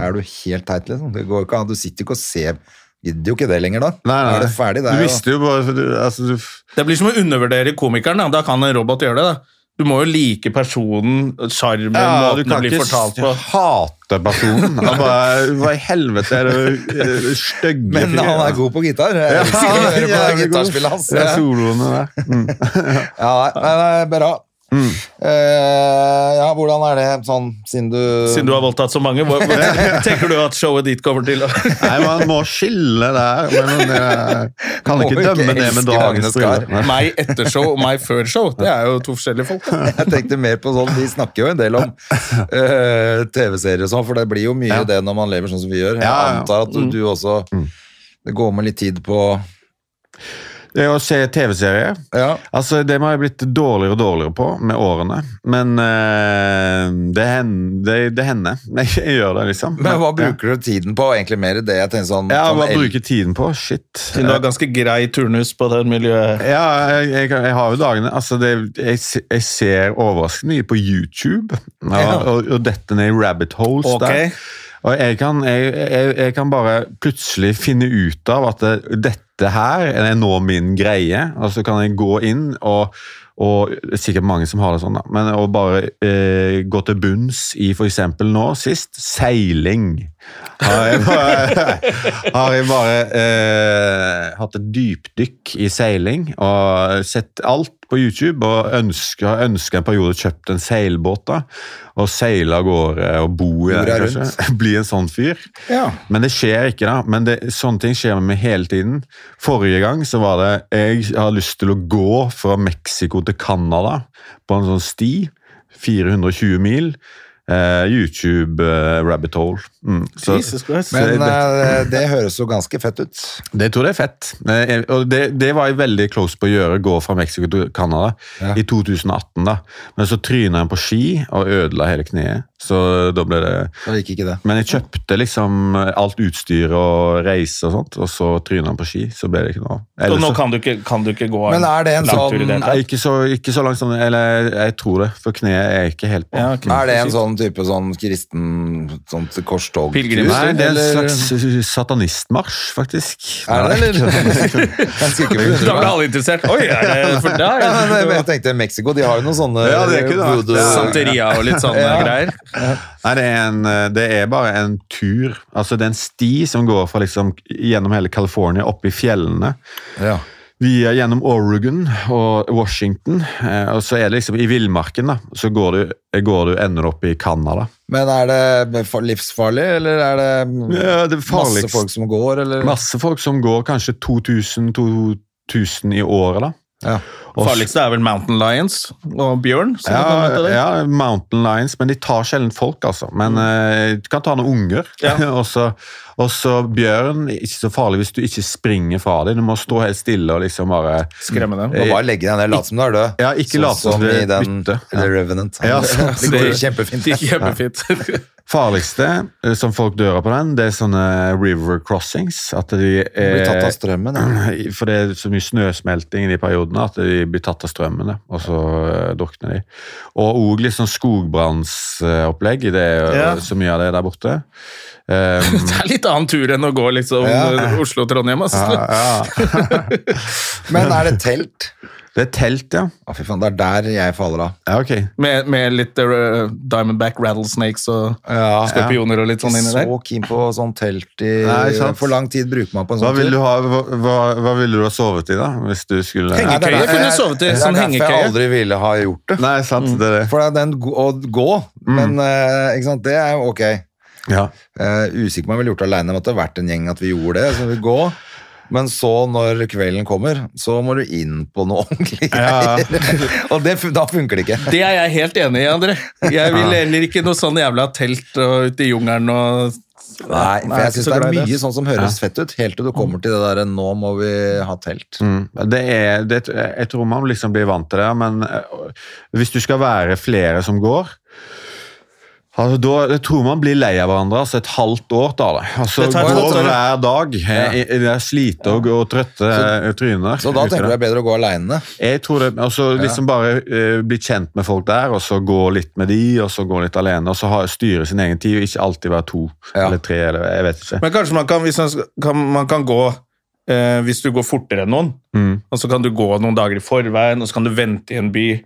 Speaker 2: Er du helt teit, liksom? Det går jo ikke an. Du sitter jo ikke og ser Gidder jo ikke det lenger, da.
Speaker 3: Nei, nei.
Speaker 2: Da Er det ferdig? Det
Speaker 3: du
Speaker 2: er jo
Speaker 3: visste jo bare for du, altså, du,
Speaker 1: Det blir som å undervurdere komikeren. Da, da kan en robot gjøre det. da. Du må jo like personen, sjarmen,
Speaker 3: ja,
Speaker 1: måten
Speaker 3: du
Speaker 1: det
Speaker 3: kan
Speaker 1: blir
Speaker 3: ikke
Speaker 1: fortalt på.
Speaker 3: hate personen. Han bare, Hva i helvete er det eh, stygge
Speaker 2: Men han er god på gitar. Jeg elsker å høre på det gitarspillet hans.
Speaker 3: Det er soloene der. Mm.
Speaker 2: Ja, nei, nei, nei, bra. Eh, ja, hvordan er det sånn, siden du
Speaker 1: Siden du har voldtatt så mange, hva, hva tenker du at showet ditt kommer til å
Speaker 3: Nei, man må skille der. Men man kan
Speaker 2: Må
Speaker 3: ikke
Speaker 2: ikke
Speaker 3: dømme det
Speaker 2: elske
Speaker 3: med dagens
Speaker 2: Agnes Skar.
Speaker 3: briller. Nei.
Speaker 1: Meg etter show og meg før show. Det er jo to forskjellige folk. da.
Speaker 2: Jeg tenkte mer på sånn, Vi snakker jo en del om eh, TV-serier og sånn, for det blir jo mye
Speaker 3: Ja.
Speaker 2: det når man lever sånn som vi gjør. Jeg
Speaker 3: Ja, Mm. ja.
Speaker 2: antar at du, du også Det går med litt tid på
Speaker 3: Det å se TV-serier
Speaker 2: Ja,
Speaker 3: Altså, Det må jeg blitt dårligere og dårligere på med årene. Men eh, det, hender, det, det hender. Jeg, gjør det, liksom.
Speaker 2: Men hva bruker du tiden på? Egentlig mer det jeg tenker sånn,
Speaker 3: Ja,
Speaker 2: sånn
Speaker 3: Hva
Speaker 2: el-
Speaker 3: bruker tiden på? Shit.
Speaker 1: Siden du har ganske grei turnus på det miljøet.
Speaker 3: Eh, Ja, jeg, jeg, jeg har jo dagene altså det, jeg, se- jeg ser overraskende mye på YouTube, ja,
Speaker 2: Ja.
Speaker 3: og, og detter ned i rabbit holes
Speaker 1: Ok.
Speaker 3: der. Og jeg kan, jeg, jeg, jeg kan bare plutselig finne ut av at det, dette dette her er nå min greie. Og så kan jeg gå inn og og det er sikkert mange som har det sånn, da. Men å bare eh, gå til bunns i f.eks. nå sist seiling. Har jeg bare, har jeg bare eh, hatt et dypdykk i seiling og sett alt på YouTube og ønska, ønska en periode kjøpt en seilbåt da, og seile av gårde og bo i den,
Speaker 2: Jorda
Speaker 3: kanskje. Bli en sånn fyr.
Speaker 2: Ja.
Speaker 3: Men det skjer ikke, da. Men det, sånne ting skjer med meg hele tiden. Forrige gang så var det Jeg har lyst til å gå fra Mexico til Canada på en sånn sti. 420 mil. Eh, YouTube eh, rabbit hole. Mm. Så,
Speaker 1: Jesus Christ.
Speaker 3: så
Speaker 2: Men
Speaker 3: det,
Speaker 2: eh, det høres jo ganske fett ut.
Speaker 3: det tror jeg er fett. Eh, Og det, det var jeg veldig close på å gjøre, gå fra Mexico til Canada i 2018. da. Men så tryna jeg på ski og ødela hele kneet. Så da ble det
Speaker 2: Det gikk ikke det.
Speaker 3: men jeg kjøpte liksom alt utstyr og reise og sånt, og så tryna han på ski. Så ble det ikke noe av.
Speaker 1: Og
Speaker 3: Ellers
Speaker 1: nå
Speaker 3: så-
Speaker 1: kan du ikke, kan du ikke gå
Speaker 2: Men er det en
Speaker 1: langtur i
Speaker 2: sånn-
Speaker 1: det hele
Speaker 3: Nei,
Speaker 1: tatt?
Speaker 3: ikke så, ikke så langt som det. Eller jeg, jeg tror det, for kneet er ikke helt på.
Speaker 1: Ja, ok.
Speaker 2: Er det en sånn type sånn kristen sånn korstog?
Speaker 1: Pilgrim.
Speaker 3: Nei, det er en
Speaker 2: Eller-
Speaker 3: slags satanistmarsj, faktisk.
Speaker 2: Er det,
Speaker 3: Nei.
Speaker 2: eller? Jeg
Speaker 1: Da
Speaker 2: skulle ikke forundre
Speaker 1: ble
Speaker 2: meg.
Speaker 1: alle interessert. Oi, er det for deg?
Speaker 2: Ja, nei, men jeg tenkte Mexico, de har jo noen sånne
Speaker 3: Ja, det er ikke det.
Speaker 2: voodoo-
Speaker 3: Det er-
Speaker 1: Santeria og litt sånne greier.
Speaker 3: Nei, det er, en, eh, det er bare en tur. Altså, det er en sti som går fra liksom gjennom hele California, opp i fjellene.
Speaker 2: Ja.
Speaker 3: via gjennom Oregon og Washington, eh, og så er det liksom i villmarken, da, så går du, går du ender opp i Canada.
Speaker 2: Men er det for- livsfarlig, eller er det
Speaker 3: Ja, det farligste-
Speaker 2: masse folk som går, eller?
Speaker 3: Masse folk som går kanskje 2000-2000 i året, da.
Speaker 2: Ja.
Speaker 3: Og-
Speaker 1: Farligste er vel Mountain Lions og bjørn. som det kan hete
Speaker 3: Ja,
Speaker 1: det.
Speaker 3: ja, Mountain Lions, men de tar sjelden folk, altså. Men eh, du kan ta noen unger.
Speaker 1: Ja.
Speaker 3: og så- og så bjørn, ikke så farlig hvis du ikke springer fra dem. Du må stå helt stille og liksom bare
Speaker 1: Skremme dem.
Speaker 2: Du må bare legge deg ned, late som du er død.
Speaker 3: Ja, ikke
Speaker 2: sånn
Speaker 3: late som
Speaker 2: som
Speaker 3: du
Speaker 2: i den
Speaker 3: bytter. Ja.
Speaker 2: The Revenant.
Speaker 3: Ja, sånn.
Speaker 2: det går jo kjempefint.
Speaker 1: Det gikk kjempefint.
Speaker 3: farligste eh, som folk dør av på den, det er sånne river crossings. At de eh,
Speaker 2: Du
Speaker 3: er
Speaker 2: blir tatt av strømmen, ja.
Speaker 3: For det er så mye snøsmelting i de periodene at de blir tatt av strømmen, da, og så eh, drukner de. Og òg litt sånn skogbrannsopplegg. Det er jo
Speaker 1: Ja.
Speaker 3: så mye av det der borte. Um,
Speaker 1: Det er litt annen tur enn å gå liksom Oslo-Trondheim. ass.
Speaker 3: ja.
Speaker 2: Men er det telt?
Speaker 3: Det er telt, ja.
Speaker 2: Å, fy faen, det er der jeg faller av.
Speaker 3: Ja, ok.
Speaker 1: Med, med litt eh, Diamondback rattlesnakes og
Speaker 2: Ja,
Speaker 1: skorpioner og litt sånn inni der.
Speaker 2: Så keen på sånn telt i
Speaker 3: Nei, sant.
Speaker 2: For lang tid bruker man på en
Speaker 3: Hva
Speaker 2: sånn
Speaker 3: ville du ha, hva, hva- hva ville du ha sovet i, da? Hvis du skulle
Speaker 1: Henge- Hengekøye
Speaker 2: Nei, det er-
Speaker 1: kunne sovet i, sånn
Speaker 2: Det er derfor
Speaker 1: hengekøye.
Speaker 2: jeg aldri ville ha gjort det.
Speaker 3: Nei, sant, det er det.
Speaker 2: Mm. For det er den gå- å gå, men eh, ikke sant? det er jo ok.
Speaker 3: Ja.
Speaker 2: Eh, usikker på om jeg ville gjort det alene, men at det har vært en gjeng at vi gjorde det. Så vi gå. Men så, når kvelden kommer, så må du inn på noe ordentlig.
Speaker 3: Ja.
Speaker 2: og det, fun- da funker det ikke.
Speaker 1: Det er jeg helt enig i, André. Jeg vil heller ikke noe sånn jævla telt og ute i jungelen og
Speaker 2: Nei, for
Speaker 1: jeg er
Speaker 2: jeg
Speaker 1: ikke
Speaker 2: syns
Speaker 1: så
Speaker 2: det er
Speaker 1: glad i det.
Speaker 2: mye sånn som høres fett ut, helt til du kommer til det derre 'nå må vi ha telt'.
Speaker 3: Mm. Det er, det, jeg tror man liksom blir vant til det, men eh, hvis du skal være flere som går altså, da, Jeg tror man blir lei av hverandre. altså Et halvt år tar det. Altså,
Speaker 1: Det tar et
Speaker 3: går
Speaker 1: halvt år, ja.
Speaker 3: hver dag. eh, i- i Det er slite og, og trøtte eh, tryner.
Speaker 2: Så da
Speaker 3: ut
Speaker 2: tenker
Speaker 3: i
Speaker 2: du det
Speaker 3: det.
Speaker 2: er bedre å gå aleine.
Speaker 3: Jeg tror det, altså liksom Bare eh, bli kjent med folk der, og så gå litt med de, og så gå litt alene. Og så ha, styre sin egen tid, og ikke alltid være to
Speaker 2: Ja.
Speaker 3: eller tre. eller jeg vet ikke.
Speaker 1: Men kanskje man kan, hvis man, skal- kan, man kan gå eh, Hvis du går fortere enn noen, og så kan du gå noen dager i forveien, og så kan du vente i en by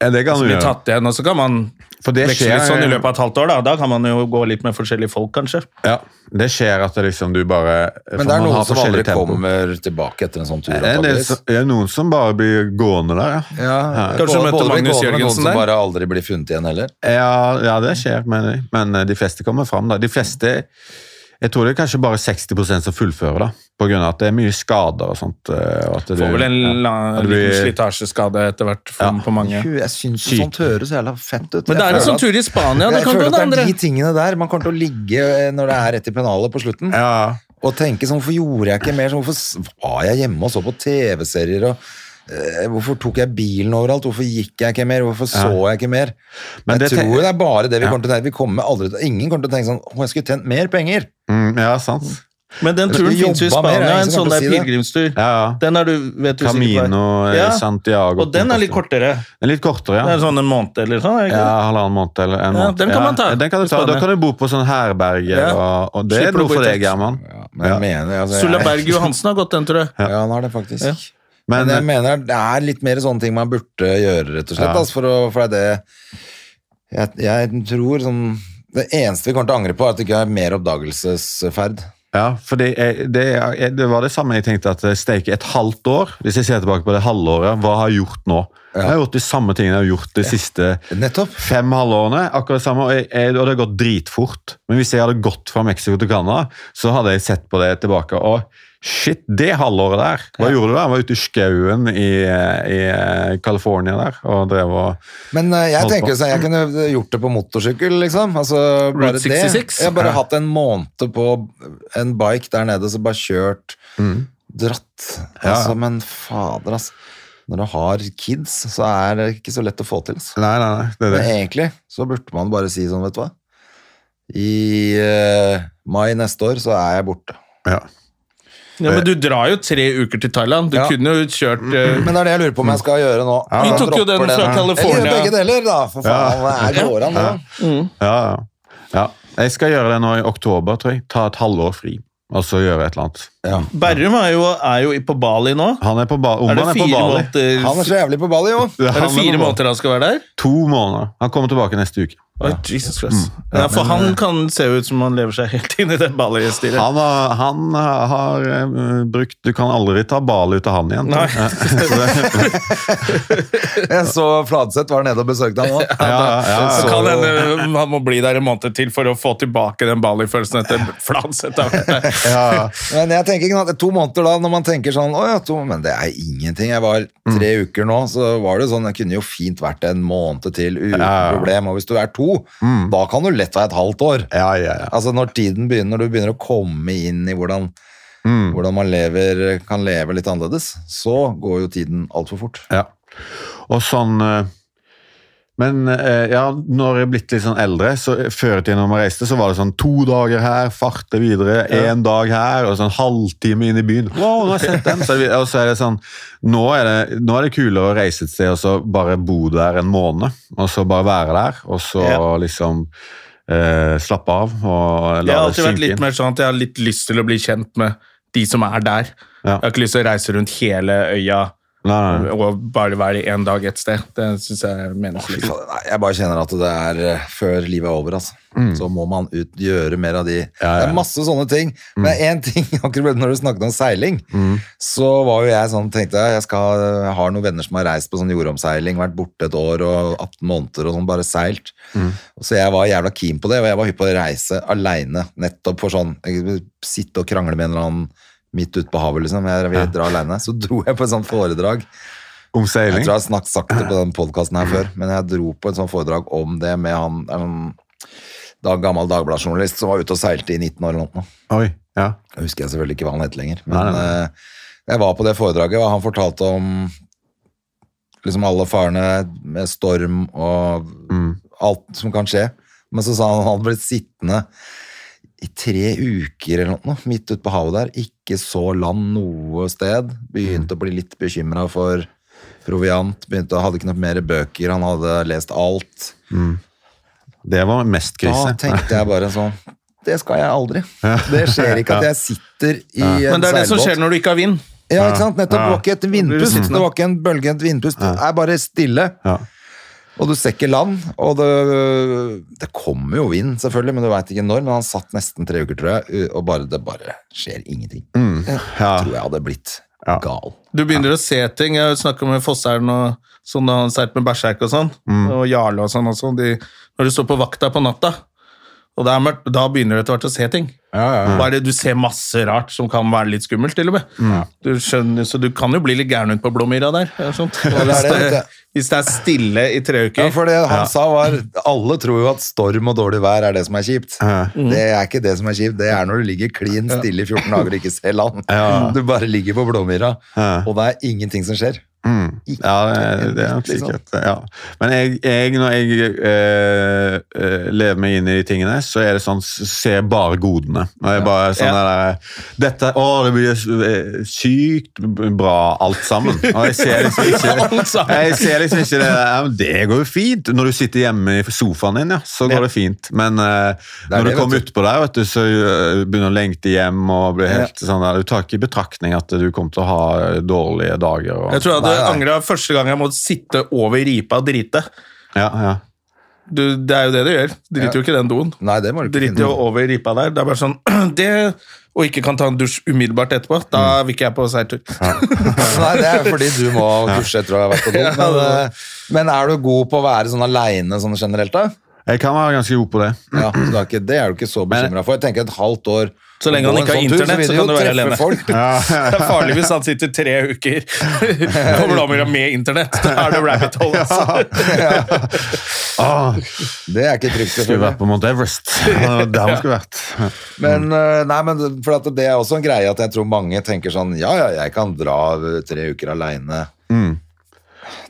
Speaker 3: Ja, det kan
Speaker 1: som
Speaker 3: du
Speaker 1: Altså, blir
Speaker 3: gjøre.
Speaker 1: tatt igjen, og så kan man
Speaker 3: For det
Speaker 1: veksle
Speaker 3: skjer-
Speaker 1: litt sånn i løpet av et halvt år. Da Da kan man jo gå litt med forskjellige folk, kanskje.
Speaker 3: Ja, det skjer at det liksom du bare for
Speaker 2: Men det er
Speaker 3: man har
Speaker 2: noen som
Speaker 3: forskjellig
Speaker 2: aldri
Speaker 3: tempo. Eh,
Speaker 2: kommer tilbake etter en sånn tur.
Speaker 3: Det er, en del
Speaker 2: antageligvis.
Speaker 3: som- det er noen som bare blir gående der, ja.
Speaker 2: Ja,
Speaker 1: Kanskje
Speaker 2: både-
Speaker 1: møtte
Speaker 2: både blir
Speaker 1: Magnus
Speaker 2: gående,
Speaker 1: Jørgensen
Speaker 2: men Noen
Speaker 1: der?
Speaker 2: som bare aldri blir funnet igjen heller.
Speaker 3: Ja, ja det skjer, mener jeg. Men eh, de fleste kommer fram, da. De fleste Jeg tror det er kanskje bare 60 som fullfører, da. På grunn av at det er mye skader og sånt. eh, Og at det,
Speaker 1: Får vel en
Speaker 3: ja.
Speaker 1: la-
Speaker 3: Og det
Speaker 1: liten
Speaker 3: blir-
Speaker 1: slitasjeskade etter hvert for, på mange.
Speaker 2: Gud, Jeg syns
Speaker 3: Sykt.
Speaker 2: sånt høres jævla fett ut.
Speaker 1: Men det
Speaker 2: Jeg
Speaker 1: er en
Speaker 2: føler
Speaker 1: sånn
Speaker 2: at-
Speaker 1: tur i Spania. Det
Speaker 2: jeg
Speaker 1: kan
Speaker 2: føler
Speaker 1: gå det
Speaker 2: at det
Speaker 1: andre.
Speaker 2: er de tingene der man kommer til å ligge eh, når det er rett i pennalet på slutten.
Speaker 3: Ja.
Speaker 2: Og tenke sånn, hvorfor gjorde jeg ikke mer? Sånn, hvorfor s- var jeg hjemme og så på TV-serier? og eh, Hvorfor tok jeg bilen overalt? Hvorfor gikk jeg ikke mer? Hvorfor så jeg ikke mer?
Speaker 3: Men
Speaker 2: jeg
Speaker 3: det te-
Speaker 2: tror det er bare det vi kommer til å tenke. Vi kommer aldri til, ingen kommer til å tenke sånn Å, jeg skulle tjent mer penger!
Speaker 3: Mm, ja, sant.
Speaker 1: Men den
Speaker 2: Men
Speaker 1: turen
Speaker 2: vi
Speaker 1: fins jo i
Speaker 2: jobba mer,
Speaker 1: Spania,
Speaker 2: jeg
Speaker 1: en
Speaker 2: som
Speaker 1: sånn
Speaker 2: kan
Speaker 1: der
Speaker 2: si det.
Speaker 1: pilegrimstur.
Speaker 3: Ja, ja.
Speaker 1: Den er du, vet du sikkert
Speaker 3: Camino
Speaker 1: hva er.
Speaker 3: eh,
Speaker 1: Ja,
Speaker 3: Santiago.
Speaker 1: Og den er litt kortere.
Speaker 3: Den er litt kortere,
Speaker 1: Det er
Speaker 3: ja.
Speaker 1: sånn en måned eller sånn. er det ikke
Speaker 3: Ja,
Speaker 1: det?
Speaker 3: Halvannen måned eller en
Speaker 1: Ja,
Speaker 3: måned.
Speaker 1: den kan man ta.
Speaker 3: Ja, den kan du ta. Da kan du bo på sånn herberge,
Speaker 1: Ja.
Speaker 3: og, og det
Speaker 1: Slipper
Speaker 3: er
Speaker 1: du å
Speaker 3: noe
Speaker 1: bo i
Speaker 3: for deg,
Speaker 1: telt.
Speaker 3: Herman.
Speaker 2: Men jeg mener altså,
Speaker 1: Sulla
Speaker 2: jeg-
Speaker 1: Berg Johansen har gått den, tror jeg.
Speaker 2: Ja, han har det faktisk.
Speaker 1: Ja.
Speaker 2: Men,
Speaker 3: Men, eh,
Speaker 2: jeg mener det er litt mer sånne ting man burde gjøre, rett og slett.
Speaker 3: Ja.
Speaker 2: Altså, for, å, for det er det jeg, jeg tror sånn Det eneste vi kommer til å angre på, er at det ikke er mer oppdagelsesferd.
Speaker 3: ja, for det, er- det, er- det var det samme jeg tenkte at eh, steik et halvt år, hvis jeg ser tilbake på det halvåret, hva har jeg gjort nå? Jeg har gjort de samme tingene jeg har gjort de siste
Speaker 2: Nettopp.
Speaker 3: fem halvårene, akkurat det samme, og, jeg, jeg, og det har gått dritfort. Men hvis jeg hadde gått fra Mexico til Canada, så hadde jeg sett på det tilbake, og shit, det halvåret der, hva gjorde du der? Jeg var ute i skauen i, i eh, California der, og drev og...
Speaker 2: Men eh, jeg
Speaker 3: Holdt på.
Speaker 2: tenker sånn, jeg kunne gjort det på motorsykkel, liksom. Altså, bare
Speaker 1: Route 66?
Speaker 2: Det. Jeg har bare
Speaker 3: Ja.
Speaker 2: hatt en måned på en bike der nede, så bare kjørt, dratt.
Speaker 3: Mm. Ja.
Speaker 2: Altså, men fader, altså. Når du har kids, så er det ikke så lett å få til. Altså.
Speaker 3: Nei, nei, nei, det er
Speaker 2: Men
Speaker 3: det.
Speaker 2: egentlig så burde man bare si sånn, vet du hva. I eh, mai neste år så er jeg borte.
Speaker 3: Ja.
Speaker 1: Ja, men du drar jo tre uker til Thailand. Du
Speaker 2: Ja.
Speaker 1: kunne jo kjørt eh,
Speaker 2: Men det er det jeg lurer på om jeg skal gjøre nå.
Speaker 1: Vi
Speaker 2: Jeg
Speaker 1: tok jo den
Speaker 2: dropper
Speaker 1: fra California.
Speaker 2: Eller gjør begge deler, da. For faen, det er går an, det. da.
Speaker 3: Ja, ja. ja. Jeg skal gjøre det nå i oktober, tror jeg. Ta et halvår fri, og så gjøre et eller annet.
Speaker 1: Berrum er jo, er jo i- på Bali nå.
Speaker 3: Han er på, ba
Speaker 1: Er det
Speaker 3: Omar er på
Speaker 1: fire
Speaker 3: Bali.
Speaker 1: måneder
Speaker 2: Han er så jævlig på Bali, jo.
Speaker 3: Ja,
Speaker 1: Er
Speaker 3: han
Speaker 1: det fire
Speaker 3: på Bali.
Speaker 1: måneder han skal være der?
Speaker 3: To måneder. Han kommer tilbake neste uke.
Speaker 1: Oi, Jesus Christ. Ja, for han kan se ut som han lever seg helt inn i det Bali-styret.
Speaker 3: Han har, han har eh, brukt Du kan aldri ta Bali ut av han igjen. Eh,
Speaker 1: Nei.
Speaker 2: Jeg så Fladseth var nede og besøkte han nå.
Speaker 3: Ja, ja, ja.
Speaker 1: Så kan hende han må bli der en måned til for å få tilbake den Bali-følelsen etter Fladseth. har vært der.
Speaker 2: Men jeg tenker ikke noe- to måneder da, når man tenker sånn Å ja, to Men det er ingenting. Jeg var tre
Speaker 3: Mm.
Speaker 2: uker nå, så var det jo sånn Jeg kunne jo fint vært en måned til uten
Speaker 3: Ja, Mm. ja.
Speaker 2: problem. Og hvis du er to, da kan du lett være et halvt år.
Speaker 3: Ja, ja, ja.
Speaker 2: Altså når tiden begynner, når du begynner å komme inn i hvordan Hvordan man lever, kan leve litt annerledes, så går jo tiden altfor fort.
Speaker 3: Ja. Og sånn eh, Men eh, ja, når jeg er blitt litt sånn eldre, så før i tiden når man reiste, så var det sånn to dager her, farte videre, én dag her, og sånn halvtime inn i byen. Wow, nå har jeg sett den! Så er det, og så er det sånn nå er det, nå er det kulere å reise et sted og så bare bo der en måned, og så bare være der, og så
Speaker 1: Ja.
Speaker 3: liksom eh, slappe av og
Speaker 1: Jeg
Speaker 3: la
Speaker 1: har
Speaker 3: det
Speaker 1: alltid vært
Speaker 3: synke
Speaker 1: litt
Speaker 3: inn.
Speaker 1: mer sånn at jeg har litt lyst til å bli kjent med de som er der.
Speaker 3: Ja.
Speaker 1: Jeg har ikke lyst til å reise rundt hele øya
Speaker 3: Nei, nei.
Speaker 1: og bare være en dag et sted. Det syns jeg er
Speaker 2: Fy
Speaker 1: meningsløst.
Speaker 2: faen, Nei, jeg bare kjenner at det er eh, før livet er over, altså. Så må man ut, gjøre mer av de.
Speaker 3: Mm. Ja, Mm. ja.
Speaker 2: Det er masse sånne ting. Men én ting, akkurat når du snakket om seiling,
Speaker 3: Mm.
Speaker 2: så var jo jeg sånn, tenkte jeg, jeg, skal, jeg har noen venner som har reist på sånn jordomseiling, vært borte et år og 18 måneder og sånn, bare seilt.
Speaker 3: Mm.
Speaker 2: Og Så jeg var jævla keen på det, og jeg var hypp på å reise aleine, nettopp for sånn, jeg, sitte og krangle med en eller annen midt ute på havet, liksom. Jeg vil dra aleine. Så dro jeg på et sånt foredrag.
Speaker 3: Om
Speaker 2: Jeg
Speaker 3: seiling?
Speaker 2: tror jeg har snakket sagt det på den podcasten her før, men jeg dro på en sånn foredrag om det med han, en da, gammel dagbladjournalist som var ute og seilte i 19 år eller noe.
Speaker 3: Oi. Ja.
Speaker 2: Jeg husker jeg selvfølgelig ikke hva han het lenger, men
Speaker 3: Nei, nei,
Speaker 2: eh, jeg var på det foredraget, og han fortalte om liksom alle farene med storm og
Speaker 3: Mm.
Speaker 2: alt som kan skje. Men så sa han at han hadde blitt sittende i tre uker eller noe, midt ute på havet der, ikke så land noe sted,
Speaker 3: Mm.
Speaker 2: begynte å bli litt bekymret for proviant, begynte, hadde ikke noe mer bøker, han hadde lest alt.
Speaker 3: Det var mest
Speaker 2: Da
Speaker 3: krise.
Speaker 2: tenkte jeg bare sånn, det skal jeg aldri. Det skjer ikke at jeg sitter i en seilbåt.
Speaker 1: Men det er det som skjer når du ikke har vind.
Speaker 2: Ja, ikke sant? Nettopp. Det var ikke et
Speaker 1: Blir du
Speaker 2: vindpust,
Speaker 1: sittende?
Speaker 2: det var ikke en bølge, et vindpust. Det er bare stille.
Speaker 3: Ja.
Speaker 2: Og du ser ikke land, og det, det kommer jo vind, selvfølgelig, men du veit ikke når. Men han satt nesten tre uker, tror jeg, og bare, det bare skjer ingenting. Jeg
Speaker 3: Ja.
Speaker 2: tror jeg hadde blitt
Speaker 3: Ja.
Speaker 2: gal.
Speaker 1: Du begynner å se ting. Jeg snakka med Fossern og sånn da han seilte med Berserk og sånn,
Speaker 2: Mm.
Speaker 1: og Jarle og sånn også. De, når du står på vakta på natta, og det er mørkt, da begynner du etter hvert å se ting. Bare Du ser masse rart som kan være litt skummelt, til og med.
Speaker 2: Mm,
Speaker 1: Du skjønner, så du kan jo bli litt gæren ut på Blåmyra der. eller sånt.
Speaker 2: det
Speaker 1: Hvis,
Speaker 2: er det,
Speaker 1: det,
Speaker 2: vet
Speaker 1: hvis det er stille i tre
Speaker 2: Ja,
Speaker 1: uker.
Speaker 2: for det han sa var Alle tror jo at storm og dårlig vær er det som er kjipt.
Speaker 1: Mm.
Speaker 2: Det er ikke det som er kjipt, det er når du ligger klin stille i 14 dager og ikke ser land. Du bare ligger på Blåmyra, og det er ingenting som skjer.
Speaker 3: Mm. Ja, det, det er nok
Speaker 2: Liksom.
Speaker 3: sikkert. eh, Ja. Men jeg, jeg når jeg eh, eh, lever meg inn i de tingene, så er det sånn s- ser bare godene. Og jeg bare sånn der, dette, Å, det blir s- eh, sykt bra alt sammen. Og jeg ser liksom
Speaker 1: Alt
Speaker 3: ikke,
Speaker 1: sammen.
Speaker 3: jeg ser liksom ikke det der. Ja, men Det går jo fint. Når du sitter hjemme i sofaen din, ja, så går
Speaker 1: Ja.
Speaker 3: det fint. Men eh,
Speaker 2: er
Speaker 3: når
Speaker 2: det,
Speaker 3: du kommer
Speaker 2: vet
Speaker 3: utpå der, vet du, så eh, begynner du å lengte hjem og blir helt sånn der, Du tar ikke i betraktning at du kommer til å ha dårlige dager. Og,
Speaker 1: Jeg tror jeg hadde
Speaker 2: Nei, nei.
Speaker 1: angra første gang jeg måtte sitte over ripa og drite.
Speaker 3: ja, ja.
Speaker 1: Du, det er jo det du gjør. Driter jo ikke den doen.
Speaker 2: Nei, det må du ikke
Speaker 1: Driter jo
Speaker 2: finne.
Speaker 1: over ripa der. Det er bare sånn det, Og ikke kan ta en dusj umiddelbart etterpå. Da
Speaker 2: Mm.
Speaker 1: vil ikke jeg på seiltur.
Speaker 2: Nei, det er fordi du må dusje etter å ha vært på do. Men, eh, men er du god på å være sånn aleine sånn generelt, da?
Speaker 3: Jeg kan være ganske god på det.
Speaker 2: Ja, så det, er ikke, det er du ikke så bekymra for. Jeg tenker et halvt år
Speaker 1: Så lenge han
Speaker 2: Gå en
Speaker 1: ikke har
Speaker 2: sånn tur,
Speaker 1: internett,
Speaker 2: vil
Speaker 1: så
Speaker 2: du
Speaker 1: kan
Speaker 2: jo
Speaker 1: du være
Speaker 2: treffe
Speaker 1: alene.
Speaker 2: folk.
Speaker 1: Det er farlig hvis han sitter tre uker kommer da med, med internett. Da er det rabbit hole. Altså.
Speaker 3: Åh,
Speaker 2: Det er ikke trygt,
Speaker 3: Ah, skulle
Speaker 2: selvfølgelig.
Speaker 3: vært på Mount Everest. Det var Der man skulle vært.
Speaker 1: Mm.
Speaker 2: Men, eh, nei, men det- for at det er også en greie at jeg tror mange tenker sånn Ja, ja, jeg kan dra eh, tre uker aleine.
Speaker 1: Mm.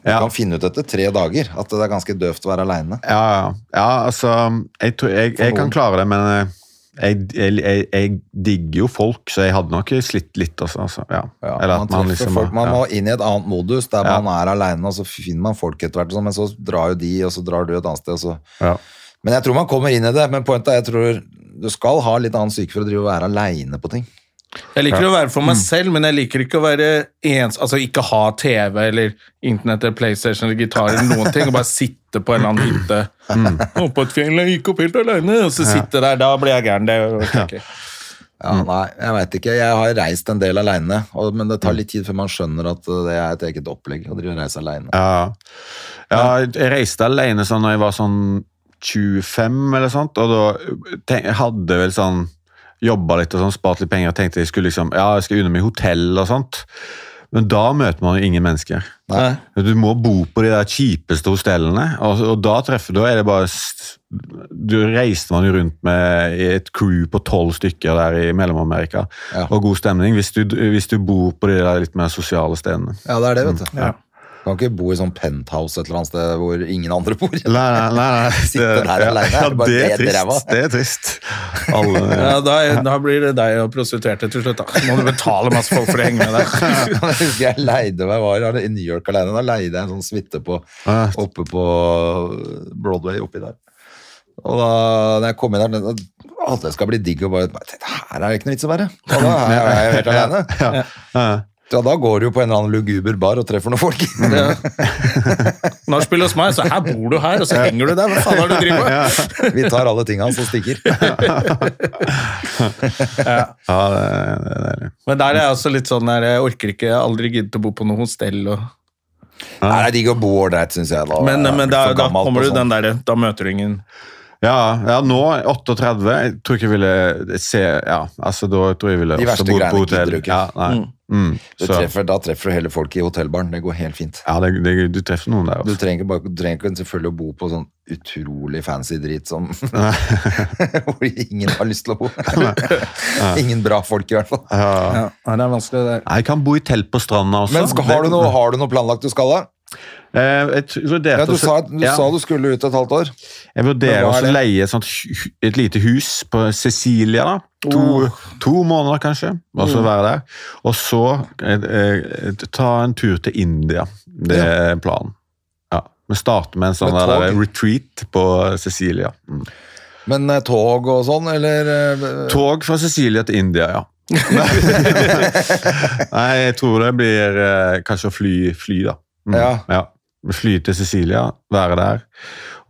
Speaker 2: Du
Speaker 3: Ja.
Speaker 2: kan finne ut etter tre dager at det er ganske døvt å være aleine.
Speaker 3: Ja, ja. ja altså Jeg, tror, jeg, jeg kan klare det, men eh, jeg, jeg, jeg, jeg digger jo folk, så jeg hadde nok slitt litt også. Altså. Ja.
Speaker 2: Ja,
Speaker 3: Eller
Speaker 2: man
Speaker 3: at man
Speaker 2: treffer
Speaker 3: liksom
Speaker 2: folk, man
Speaker 3: ja.
Speaker 2: må inn i et annet modus der
Speaker 3: Ja.
Speaker 2: man er aleine, og så finner man folk etter hvert, og sånn, men så drar jo de, og så drar du et annet sted, og så
Speaker 3: Ja.
Speaker 2: Men jeg tror man kommer inn i det. Men poenget er jeg tror du skal ha litt annen syke for å drive og være aleine på ting.
Speaker 1: Jeg liker å være for
Speaker 2: Mm.
Speaker 1: meg selv, men jeg liker ikke å være ens, altså ikke ha TV eller internett eller PlayStation eller gitar eller noen ting, og bare sitte på en eller annen hytte
Speaker 2: Mm.
Speaker 1: oppe på et fjell og gikk opp helt alene, og så sitte der. Da blir jeg gæren. Det orker jeg ikke.
Speaker 2: Ja,
Speaker 3: Mm.
Speaker 2: Nei, jeg veit ikke. Jeg har reist en del aleine, men det
Speaker 3: Mm.
Speaker 2: tar litt tid før man skjønner at uh, det er et eget opplegg å drive og reise aleine.
Speaker 3: Ja. ja, jeg reiste alene sånn når jeg var sånn 25 eller sånt, og da tenk, jeg hadde vel sånn jobba litt og sånn, spart litt penger og tenkte jeg skulle liksom, ja, jeg skal unne meg hotell og sånt. Men da møter man jo ingen mennesker. Du må bo på de der kjipeste hostellene, og, og da treffer du, da er det bare s- Du reiste man jo rundt med et crew på tolv stykker der i Mellom-Amerika,
Speaker 2: Ja.
Speaker 3: og god stemning hvis du, hvis du bor på de der litt mer sosiale stedene.
Speaker 2: Ja, det er det,
Speaker 3: Mm.
Speaker 2: vet du. Du kan ikke bo i sånn penthouse et eller annet sted hvor ingen andre bor.
Speaker 3: Nei, nei, nei. nei.
Speaker 2: Sitte der alene,
Speaker 3: Ja,
Speaker 2: er det bare
Speaker 3: det er
Speaker 2: det dere var?
Speaker 3: trist. Det er trist. Alle,
Speaker 1: Ja, da, da blir det deg og prostituerte til slutt, da. Må du betale masse folk for å henge med deg.
Speaker 2: Jeg husker jeg leide meg var i New York alene. Da leide jeg en sånn suite på,
Speaker 3: Ja.
Speaker 2: oppe på Broadway oppi der. Og da når jeg kom inn der, da, å, det skal bli digg å bare jeg tenkte, Her er det ikke noe vits å være. Og da er jeg helt alene. Ja, da går du jo på en eller annen luguber bar og treffer noen folk.
Speaker 3: Mm.
Speaker 1: Nachspiel hos meg, så her bor du her, og så henger du der. Hva faen er det du driver med?
Speaker 2: Vi tar alle tingene hans og stikker.
Speaker 3: ja, det, det er deilig.
Speaker 1: Men der er jeg også litt sånn der, jeg orker ikke, jeg har aldri giddet å bo på noe hostell. Og...
Speaker 2: Nei, det er digg å bo ålreit, syns jeg. Da,
Speaker 1: Men, men da,
Speaker 2: For
Speaker 1: da
Speaker 2: gammelt
Speaker 1: kommer
Speaker 2: og
Speaker 1: du
Speaker 2: sånn.
Speaker 1: den derre, da møter du ingen
Speaker 3: Ja, ja, nå 38 Jeg tror ikke jeg ville se Ja, altså da tror jeg ville
Speaker 2: De verste
Speaker 3: bodd
Speaker 2: greiene gidder du ikke.
Speaker 3: Ja, nei. Mm.
Speaker 2: Du
Speaker 3: Så,
Speaker 2: treffer, da treffer du heller folk i hotellbaren. Det går helt fint.
Speaker 3: ja, det, det, du treffer noen der altså.
Speaker 2: Du
Speaker 3: også.
Speaker 2: trenger, ikke bare, du trenger ikke selvfølgelig å bo på sånn utrolig fancy drit som Hvor ingen har lyst til å bo. ingen bra folk, i hvert fall.
Speaker 1: Ja, nei, det er vanskelig det der.
Speaker 3: Nei, Jeg kan bo i telt på stranda også.
Speaker 2: Men skal, har,
Speaker 3: Det-
Speaker 2: du noe, har du noe planlagt du skal, da?
Speaker 3: Eh, jeg tror jeg vurderte
Speaker 2: Ja, du
Speaker 3: å se-
Speaker 2: sa, du
Speaker 3: Ja.
Speaker 2: sa du skulle ut et halvt år.
Speaker 3: Jeg
Speaker 2: Men
Speaker 3: vurderer
Speaker 2: hva er
Speaker 3: også å
Speaker 2: det?
Speaker 3: leie et, sånt, hu- et lite hus på Cecilia. da. To,
Speaker 2: Oh.
Speaker 3: to måneder, kanskje. Og
Speaker 2: Mm.
Speaker 3: så være der. Og så eh, eh, ta en tur til India. Det er planen. Ja. Vi starter med en sånn
Speaker 2: Med
Speaker 3: der
Speaker 2: tog?
Speaker 3: retreat på Cecilia. Mm.
Speaker 2: Men eh, tog og sånn, eller eh,
Speaker 3: Tog fra Cecilia til India, ja. Nei, jeg tror det blir eh, kanskje å fly, fly da. Mm.
Speaker 2: Ja.
Speaker 3: Fly til Cecilia, være der,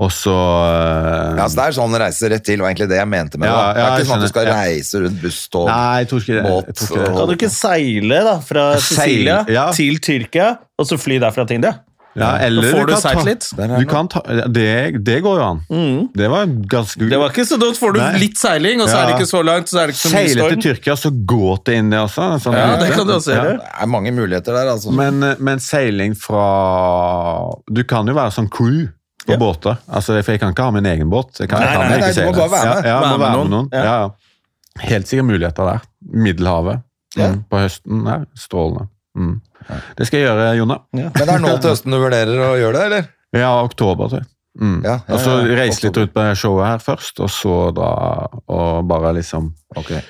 Speaker 3: og så eh,
Speaker 2: Ja, så Det er sånn reise rett til, var egentlig det jeg mente med det.
Speaker 3: Ja,
Speaker 2: da. det.
Speaker 3: ja,
Speaker 2: er
Speaker 3: jeg
Speaker 2: ikke sånn at du skal
Speaker 3: skjønner.
Speaker 2: reise rundt buss, tog
Speaker 3: Nei, jeg tror ikke det.
Speaker 2: Båt
Speaker 3: Jeg tror ikke det.
Speaker 2: og-
Speaker 1: Kan du ikke seile da, fra
Speaker 3: Seil,
Speaker 1: Sicilia
Speaker 3: ja.
Speaker 1: til Tyrkia, og så fly derfra til India?
Speaker 3: Ja, eller
Speaker 1: Da får
Speaker 3: du
Speaker 1: du
Speaker 3: kan
Speaker 1: seilt
Speaker 3: ta-
Speaker 1: litt. Mm.
Speaker 2: Der er
Speaker 3: Du
Speaker 2: noe.
Speaker 3: kan ta, det, det går jo an. Det var ganske
Speaker 1: Det var ikke så dumt, får du
Speaker 3: Nei.
Speaker 1: litt seiling, og så er det
Speaker 3: Ja.
Speaker 1: ikke så langt, så er det ikke så mye
Speaker 3: Seile til
Speaker 1: storm.
Speaker 3: Tyrkia, så gå til India også. en sånn
Speaker 1: Ja,
Speaker 3: rute.
Speaker 1: det kan du også gjøre.
Speaker 2: Det er mange muligheter der, altså.
Speaker 3: Men, eh, men seiling fra Du kan jo være sånn crew på
Speaker 1: Ja.
Speaker 3: båter. Altså, for jeg kan ikke ha min egen båt. Jeg kan,
Speaker 1: Nei,
Speaker 3: jeg kan
Speaker 1: nei,
Speaker 2: nei,
Speaker 3: ikke
Speaker 2: du må
Speaker 3: seile.
Speaker 2: bare være med.
Speaker 3: Ja, ja, jeg må være med noen.
Speaker 1: Ja.
Speaker 3: Ja. Ja. Helt sikkert muligheter der. Middelhavet
Speaker 2: Ja.
Speaker 3: mm, på høsten. Her. Strålende. Det skal jeg gjøre, Jonna. Ja,
Speaker 2: Men det er nå til høsten du vurderer å gjøre det, eller?
Speaker 3: oktober, tror jeg. Mm.
Speaker 2: Ja, ja,
Speaker 3: og så
Speaker 2: ja, ja.
Speaker 3: reise litt rundt på showet her først, og så dra og bare liksom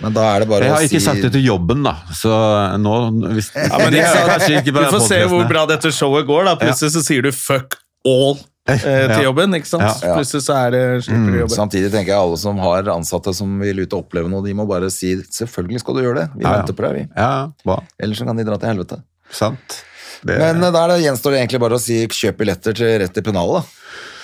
Speaker 2: Men da er det bare
Speaker 3: Jeg
Speaker 2: å
Speaker 3: har
Speaker 2: si
Speaker 3: ikke sagt det til jobben, da, så nå hvis,
Speaker 1: Ja, men
Speaker 3: Jeg
Speaker 1: jeg,
Speaker 3: skal kanskje ikke på
Speaker 1: vi
Speaker 3: den
Speaker 1: får se
Speaker 3: podcasten
Speaker 1: hvor
Speaker 3: her.
Speaker 1: bra dette showet går. da. Plutselig så sier du 'fuck all' eh, til
Speaker 3: Ja.
Speaker 1: jobben. ikke sant?
Speaker 3: Ja.
Speaker 1: Plutselig så er det
Speaker 2: Mm.
Speaker 1: slipper du jobben.
Speaker 2: Samtidig tenker jeg alle som har ansatte som vil ut og oppleve noe, de må bare si selvfølgelig skal du gjøre det. Vi
Speaker 3: Ja, ja.
Speaker 2: venter på deg, vi.
Speaker 3: Ja, bra.
Speaker 2: Ellers så kan de dra til helvete.
Speaker 3: Sant. Det,
Speaker 2: Men eh, der gjenstår det egentlig bare å si kjøp billetter til rett til pennalet,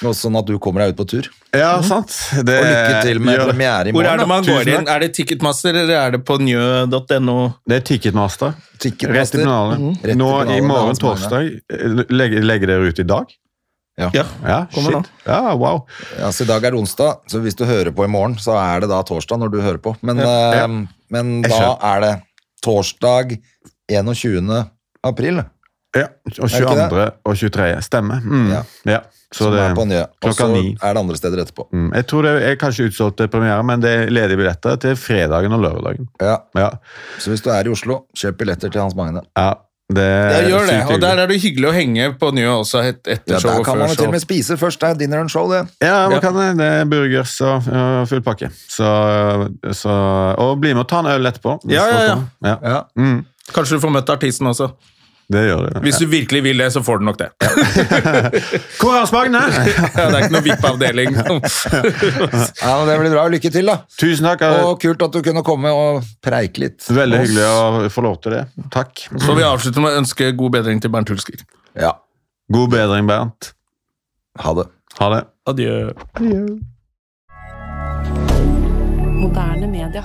Speaker 2: da. Og Sånn at du kommer deg ut på tur.
Speaker 3: ja, sant. Det,
Speaker 2: mhm. Og lykke til med
Speaker 3: Eh, gjør-
Speaker 2: premiere i
Speaker 1: Hvor
Speaker 2: morgen.
Speaker 1: er det
Speaker 2: da.
Speaker 1: man går
Speaker 2: Tusen
Speaker 1: inn? Er det Ticketmaster, eller er det på njø.no?
Speaker 3: Det er Ticketmaster.
Speaker 2: Ticketmaster. Mhm.
Speaker 3: Rett i pennalet.
Speaker 2: Rett i altså,
Speaker 3: Nå i
Speaker 2: pennalet,
Speaker 3: morgen,
Speaker 2: Hans Magne.
Speaker 3: torsdag. eh, Legger legger dere ut i dag?
Speaker 2: Ja.
Speaker 1: Ja.
Speaker 3: Ja,
Speaker 1: Kommer nå.
Speaker 3: shit. Ja, wow.
Speaker 2: Ja, så I dag er det onsdag, så hvis du hører på i morgen, så er det da torsdag når du hører på. Men, eh, men
Speaker 3: Jeg
Speaker 2: da
Speaker 3: skjønner.
Speaker 2: er det torsdag 21. april
Speaker 3: Ja, og
Speaker 2: Er det ikke
Speaker 3: 22. og 23. Stemmer. Mm.
Speaker 2: Ja.
Speaker 3: Ja. Så
Speaker 2: som
Speaker 3: det,
Speaker 2: er på Njø. Og så
Speaker 3: klokka ni.
Speaker 2: er det andre steder etterpå.
Speaker 3: Mm. Jeg tror det er kanskje utsolgt til premiere, men det er ledige billetter til fredagen og lørdagen.
Speaker 2: Ja,
Speaker 3: Ja,
Speaker 2: Så hvis du er i Oslo, kjøp billetter til Hans Magne.
Speaker 3: ja det
Speaker 1: Ja,
Speaker 3: er
Speaker 1: gjør det.
Speaker 3: sykt
Speaker 1: Og der
Speaker 3: hyggelig.
Speaker 1: er det hyggelig å henge på Njø også, et, etter
Speaker 2: Ja,
Speaker 1: show
Speaker 2: Der
Speaker 1: og
Speaker 2: kan
Speaker 1: før
Speaker 2: man jo til
Speaker 1: show.
Speaker 2: og med spise først. Det er dinner and show, det.
Speaker 3: Ja, hva
Speaker 1: Ja.
Speaker 3: kan eh, det? Det er burgers og og full pakke. Så, eh, så Og bli med og ta en øl etterpå. hvis
Speaker 1: Ja, ja, ja.
Speaker 3: folk kommer. ja.
Speaker 2: Ja.
Speaker 3: Mm,
Speaker 1: Kanskje du får møtt artisten også.
Speaker 3: det gjør det.
Speaker 1: Hvis du virkelig vil det, så får du nok det.
Speaker 3: Hvor er Hans Magne?
Speaker 1: Ja, det er ikke noe VIP-avdeling.
Speaker 2: Ja, men Det blir bra. Lykke til, da.
Speaker 3: Tusen takk.
Speaker 1: Eh.
Speaker 2: Og kult at du kunne komme og preike litt.
Speaker 3: Veldig
Speaker 2: med oss.
Speaker 3: hyggelig å få lov til det. Takk.
Speaker 1: Så vi avslutter med å ønske god bedring til Bernt Hulsker.
Speaker 2: Ja.
Speaker 3: God bedring, Bernt.
Speaker 2: Ha det.
Speaker 3: Ha det.
Speaker 1: Adjø.
Speaker 4: Moderne media.